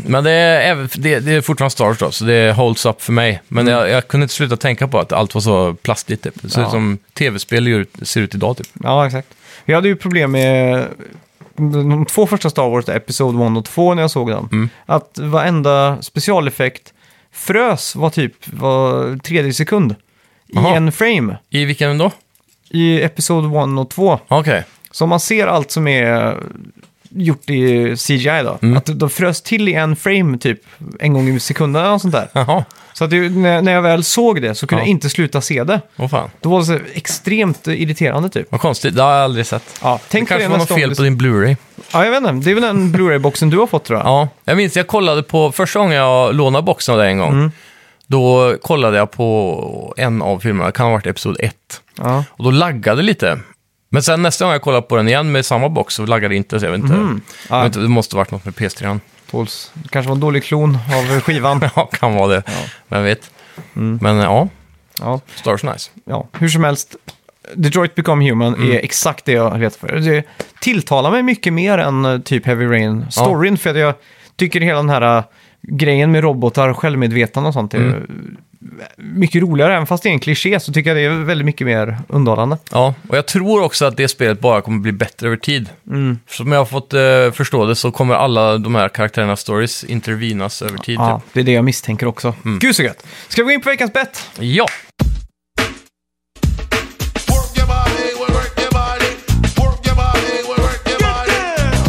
Men det är, även- det, det är fortfarande Star Wars då, så det holds up för mig. Men jag, jag kunde inte sluta tänka på att allt var så plastigt typ. Det ser
Mm. Ja.
ut som tv-spel gör- ser ut idag typ.
Ja, exakt. Vi hade ju problem med de två första Star Wars, Episod 1 och 2, när jag såg dem.
Mm.
Att varenda specialeffekt frös var typ var tredje sekund i
Jaha.
en frame
I vilken då?
i Episod 1 och 2.
Okej.
Så om man ser allt som är gjort i CGI då,
Mm.
att de frös till i en frame typ en gång i sekunden eller något sånt där.
Jaha.
Så att det, när när jag väl såg det så kunde
Ja.
jag inte sluta se det.
Åh fan.
Då var det så extremt irriterande typ.
Vad konstigt. Det har jag aldrig sett.
Ja,
det
tänk på
kanske
det
var något
nästa gång
fel
du-
på din Blu-ray.
Ja, jag vet inte. Det är väl den Blu-ray-boxen du har fått tror jag.
Ja, jag minns jag kollade på, första gången jag lånade boxen av dig en gång, då kollade jag på en av filmerna, det kan ha varit episod 1.
Ja.
Och då laggade det lite. Men sen nästa gång jag kollade på den igen med samma box så laggade det inte, så jag vet inte. Jag vet inte det måste ha varit något med PS3. -an.
Tåls. kanske var en dålig klon av skivan.
Ja, Mm. kan vara det. Vem vet. Men ja,
Ja.
Stars Nice.
ja, hur som helst. Detroit Become Human är exakt det jag letar för. Det tilltalar mig mycket mer än eh, typ Heavy Rain. Storyn, för att jag tycker hela den här eh, grejen med robotar och självmedvetande och sånt är eh, mycket roligare. Även fast det är en kliché så tycker jag det är väldigt mycket mer underhållande.
Ja, och jag tror också att det spelet bara kommer bli bättre över tid. Som jag har fått eh, förstå det så kommer alla de här karaktärernas stories intervenas över tid. typ.
Ja, det är det jag misstänker också. Gud så gött! Ska vi gå in på veckans bett?
Typ. Ja,
Work your body, well, work your body. Work your body, well, work your body.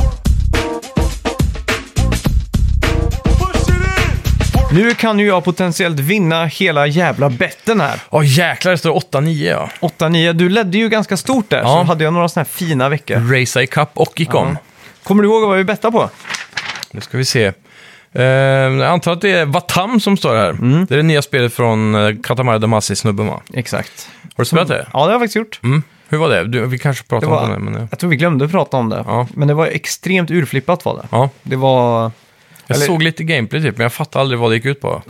Nu kan ju jag potentiellt vinna hela jävla betten här.
Åh jäklar, det står 8-9 ja.
8-9, du ledde ju ganska stort där,
Ja.
så hade jag några sådana här fina veckor.
Race I Cup och Icon.
Kommer du ihåg vad vi bettade på?
Nu ska vi se. Eh, jag antar att det är Vatam som står här.
Mm.
Det är det nya spelet från eh, Katamari Damacy-snubben va?
Exakt.
Har du spelat det?
Mm. Ja, det har jag faktiskt gjort.
Mm. Hur var det? Du, vi kanske
Det
pratar
var,
om det, men... eh,
Jag tror vi glömde prata om det,
Ja.
men det var extremt urflippat var det.
Ja.
Det var...
Jag
Eller-
såg lite gameplay typ, men jag fattade aldrig vad det gick ut på.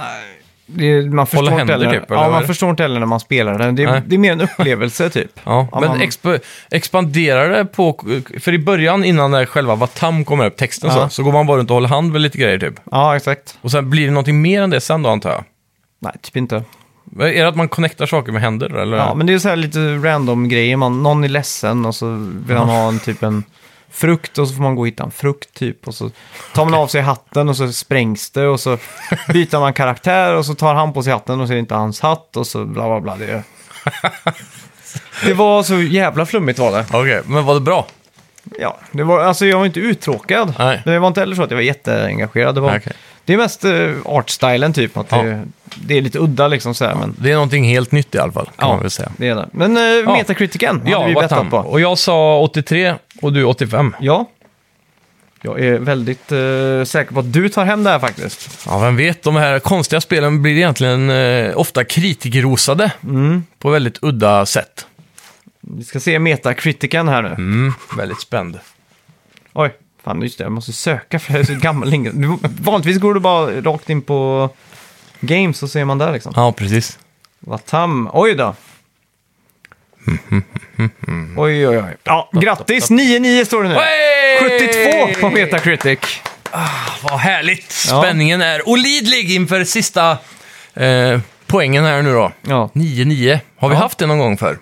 Det, man förstår
Hålla
inte
händer
heller-
typ, eller
Ja,
vad är
man
det?
förstår inte heller när man spelar det. Det,
Nej.
är- det är mer en upplevelse typ.
Ja, men
man-
exp- expanderar det på... För i början, innan när själva Vatam kommer upp, texten
Ja.
så, så går man bara runt och håller hand med lite grejer typ.
ja, exakt.
Och sen blir det någonting mer än det sen då, antar jag.
Nej, typ inte.
Är det att man connectar saker med händer? Eller?
Ja, men det är så här lite random grejer. Man, någon är ledsen och så vill han ha en typ en frukt och så får man gå och hitta en frukt typ. Och så tar man av sig hatten och så sprängs det och så byter man karaktär och så tar han på sig hatten och så är det inte hans hatt och så bla bla bla. Det, är- det var så jävla flummigt var det.
Okej, men var det bra?
Ja, det var, alltså jag var inte uttråkad.
Nej.
Men det var inte heller så att jag var jätteengagerad. Det, var,
Nej, okej.
det är mest eh, artstylen typ. Att
Ja.
det, det är lite udda liksom så här, men
Det är någonting helt nytt i alla fall, kan man väl säga.
det är det. Men eh, Metacriticen hade
Ja,
vi
vad
bettat
fan.
på.
Och jag sa 83 och du 85.
Ja. Jag är väldigt eh, säker på att du tar hem det här faktiskt.
Ja, vem vet, de här konstiga spelen blir egentligen eh, ofta kritikerrosade på väldigt udda sätt.
Vi ska se Metacritiken här nu.
Mm, väldigt spänd.
Oj, fan just det, jag måste söka för jag är så gammal. länge. Du, vanligtvis går du bara rakt in på Games så ser man där liksom.
Ja, precis.
Vatam, oj då. Oj, oj, oj. Ja, grattis! 9-9 står det nu.
Hey!
72 på Metacritic.
Vad härligt!
Ja.
Spänningen är olidlig inför sista eh, poängen här nu då.
Ja.
9-9. Har vi
Ja.
haft det någon gång för? Mm.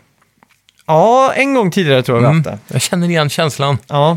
ja, en gång tidigare tror jag vi haft det.
Jag känner igen känslan.
Ja.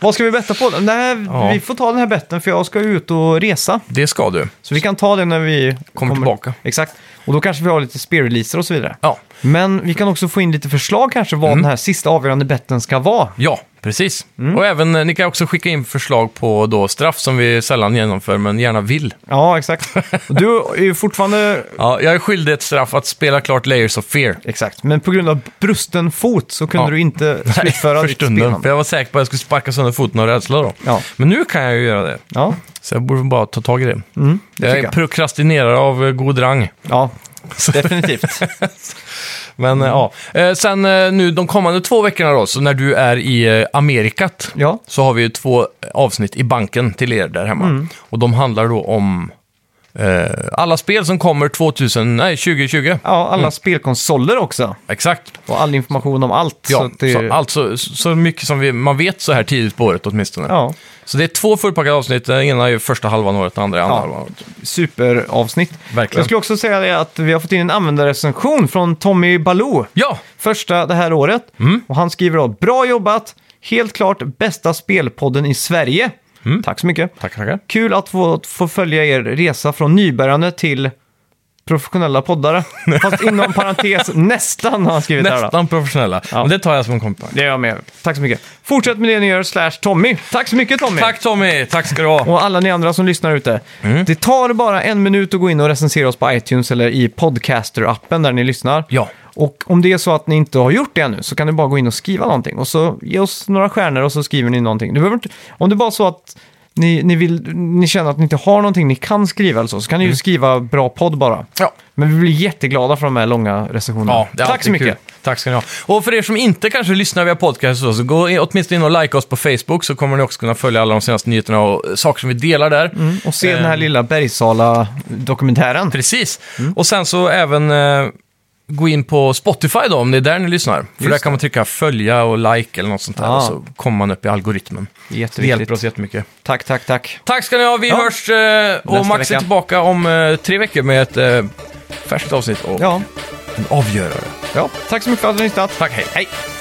Vad ska vi betta på? Nej,
Ja.
Vi får ta den här betten för jag ska ju ut och resa.
Det ska du.
Så vi kan ta det när vi kommer,
tillbaka.
Exakt. Och då kanske vi har lite spelreleaser och så vidare.
Ja,
Men vi kan också få in lite förslag kanske
Mm.
vad den här sista avgörande betten ska vara.
ja precis.
Mm.
Och även, eh, ni kan också skicka in förslag på då straff som vi sällan genomför, men gärna vill.
Ja, exakt. Och du är ju fortfarande...
Ja, jag är skyldig ett straff att spela klart Layers of Fear.
Exakt, men på grund av brusten fot så kunde
Ja.
du inte slutföra
för
ditt
stunden. För
spelande.
jag var säker på att jag skulle sparka sönder foten av rädsla då.
Ja.
Men nu kan jag ju göra det.
Ja,
Så jag borde bara ta tag i det.
Mm, det
jag
tycker
är
jag.
prokrastinerare av eh, god rang.
ja. definitivt.
Men
Mm.
eh, ja, Eh, sen eh, nu de kommande två veckorna då, så när du är i eh, Amerikat,
Ja.
eh,
Mm.
så har vi ju två avsnitt i banken till er där hemma. Och de handlar då om eh, alla spel som kommer 2000, nej, 2020.
Ja, alla spelkonsoler också.
Exakt.
Och all information om allt.
Ja,
så
så
att det,
alltså så mycket som vi, man vet så här tidigt på året åtminstone.
Ja,
Så det är två fullpackade avsnitt, den ena är ju första halvan av året, den andra är andra
Ja.
halvan av året.
superavsnitt.
Verkligen.
Jag skulle också säga det att vi har fått in en användarrecension från Tommy Baloo.
Ja,
Första det här året.
Mm.
Och han skriver då, bra jobbat! Helt klart bästa spelpodden i Sverige.
Mm.
Tack så mycket.
tackar, tackar.
Kul att få, få följa er resa från nybörjande till professionella poddare. Fast inom parentes nästan har han skrivit här då.
Nästan professionella. Men det tar jag som en komplimang.
Det är jag med. Tack så mycket. Fortsätt med det ni gör, slash Tommy. Tack så mycket Tommy!
Tack Tommy, tack ska du ha.
Och alla ni andra som lyssnar ute.
Mm.
Det tar bara en minut att gå in och recensera oss på iTunes eller i Podcaster-appen där ni lyssnar.
Ja.
Och om det är så att ni inte har gjort det ännu så kan ni bara gå in och skriva någonting. Och så ge oss några stjärnor och så skriver ni någonting. Du behöver inte, om det bara är så att ni, ni, vill, ni känner att ni inte har någonting ni kan skriva eller så, så kan ni ju skriva bra podd bara.
Mm. Ja.
Men vi blir jätteglada för de här långa recensionerna.
Ja, det är
Tack
alltid
så mycket.
Kul. Tack ska ni ha. Och för er som inte kanske lyssnar via podcast och så, så gå in, åtminstone in och like oss på Facebook så kommer ni också kunna följa alla de senaste nyheterna och eh, saker som vi delar där.
Och se
Eh,
den här lilla Bergsala-dokumentären.
Precis.
Mm.
Och sen så även eh, gå in på Spotify då, om det är där ni lyssnar. För där
Just
kan man trycka följa och like eller något sånt där
Ah.
och så kommer man upp i algoritmen. Det
Jätteviktigt.
hjälper oss jättemycket.
Tack, tack, tack.
Tack ska ni ha, vi
Ja.
hörs eh, och
Nästa
Max
vecka.
är tillbaka om eh, tre veckor med ett eh, färskt avsnitt och
Ja,
en avgörare.
ja. tack så mycket för att ni har lyssnat.
Tack, hej. hej.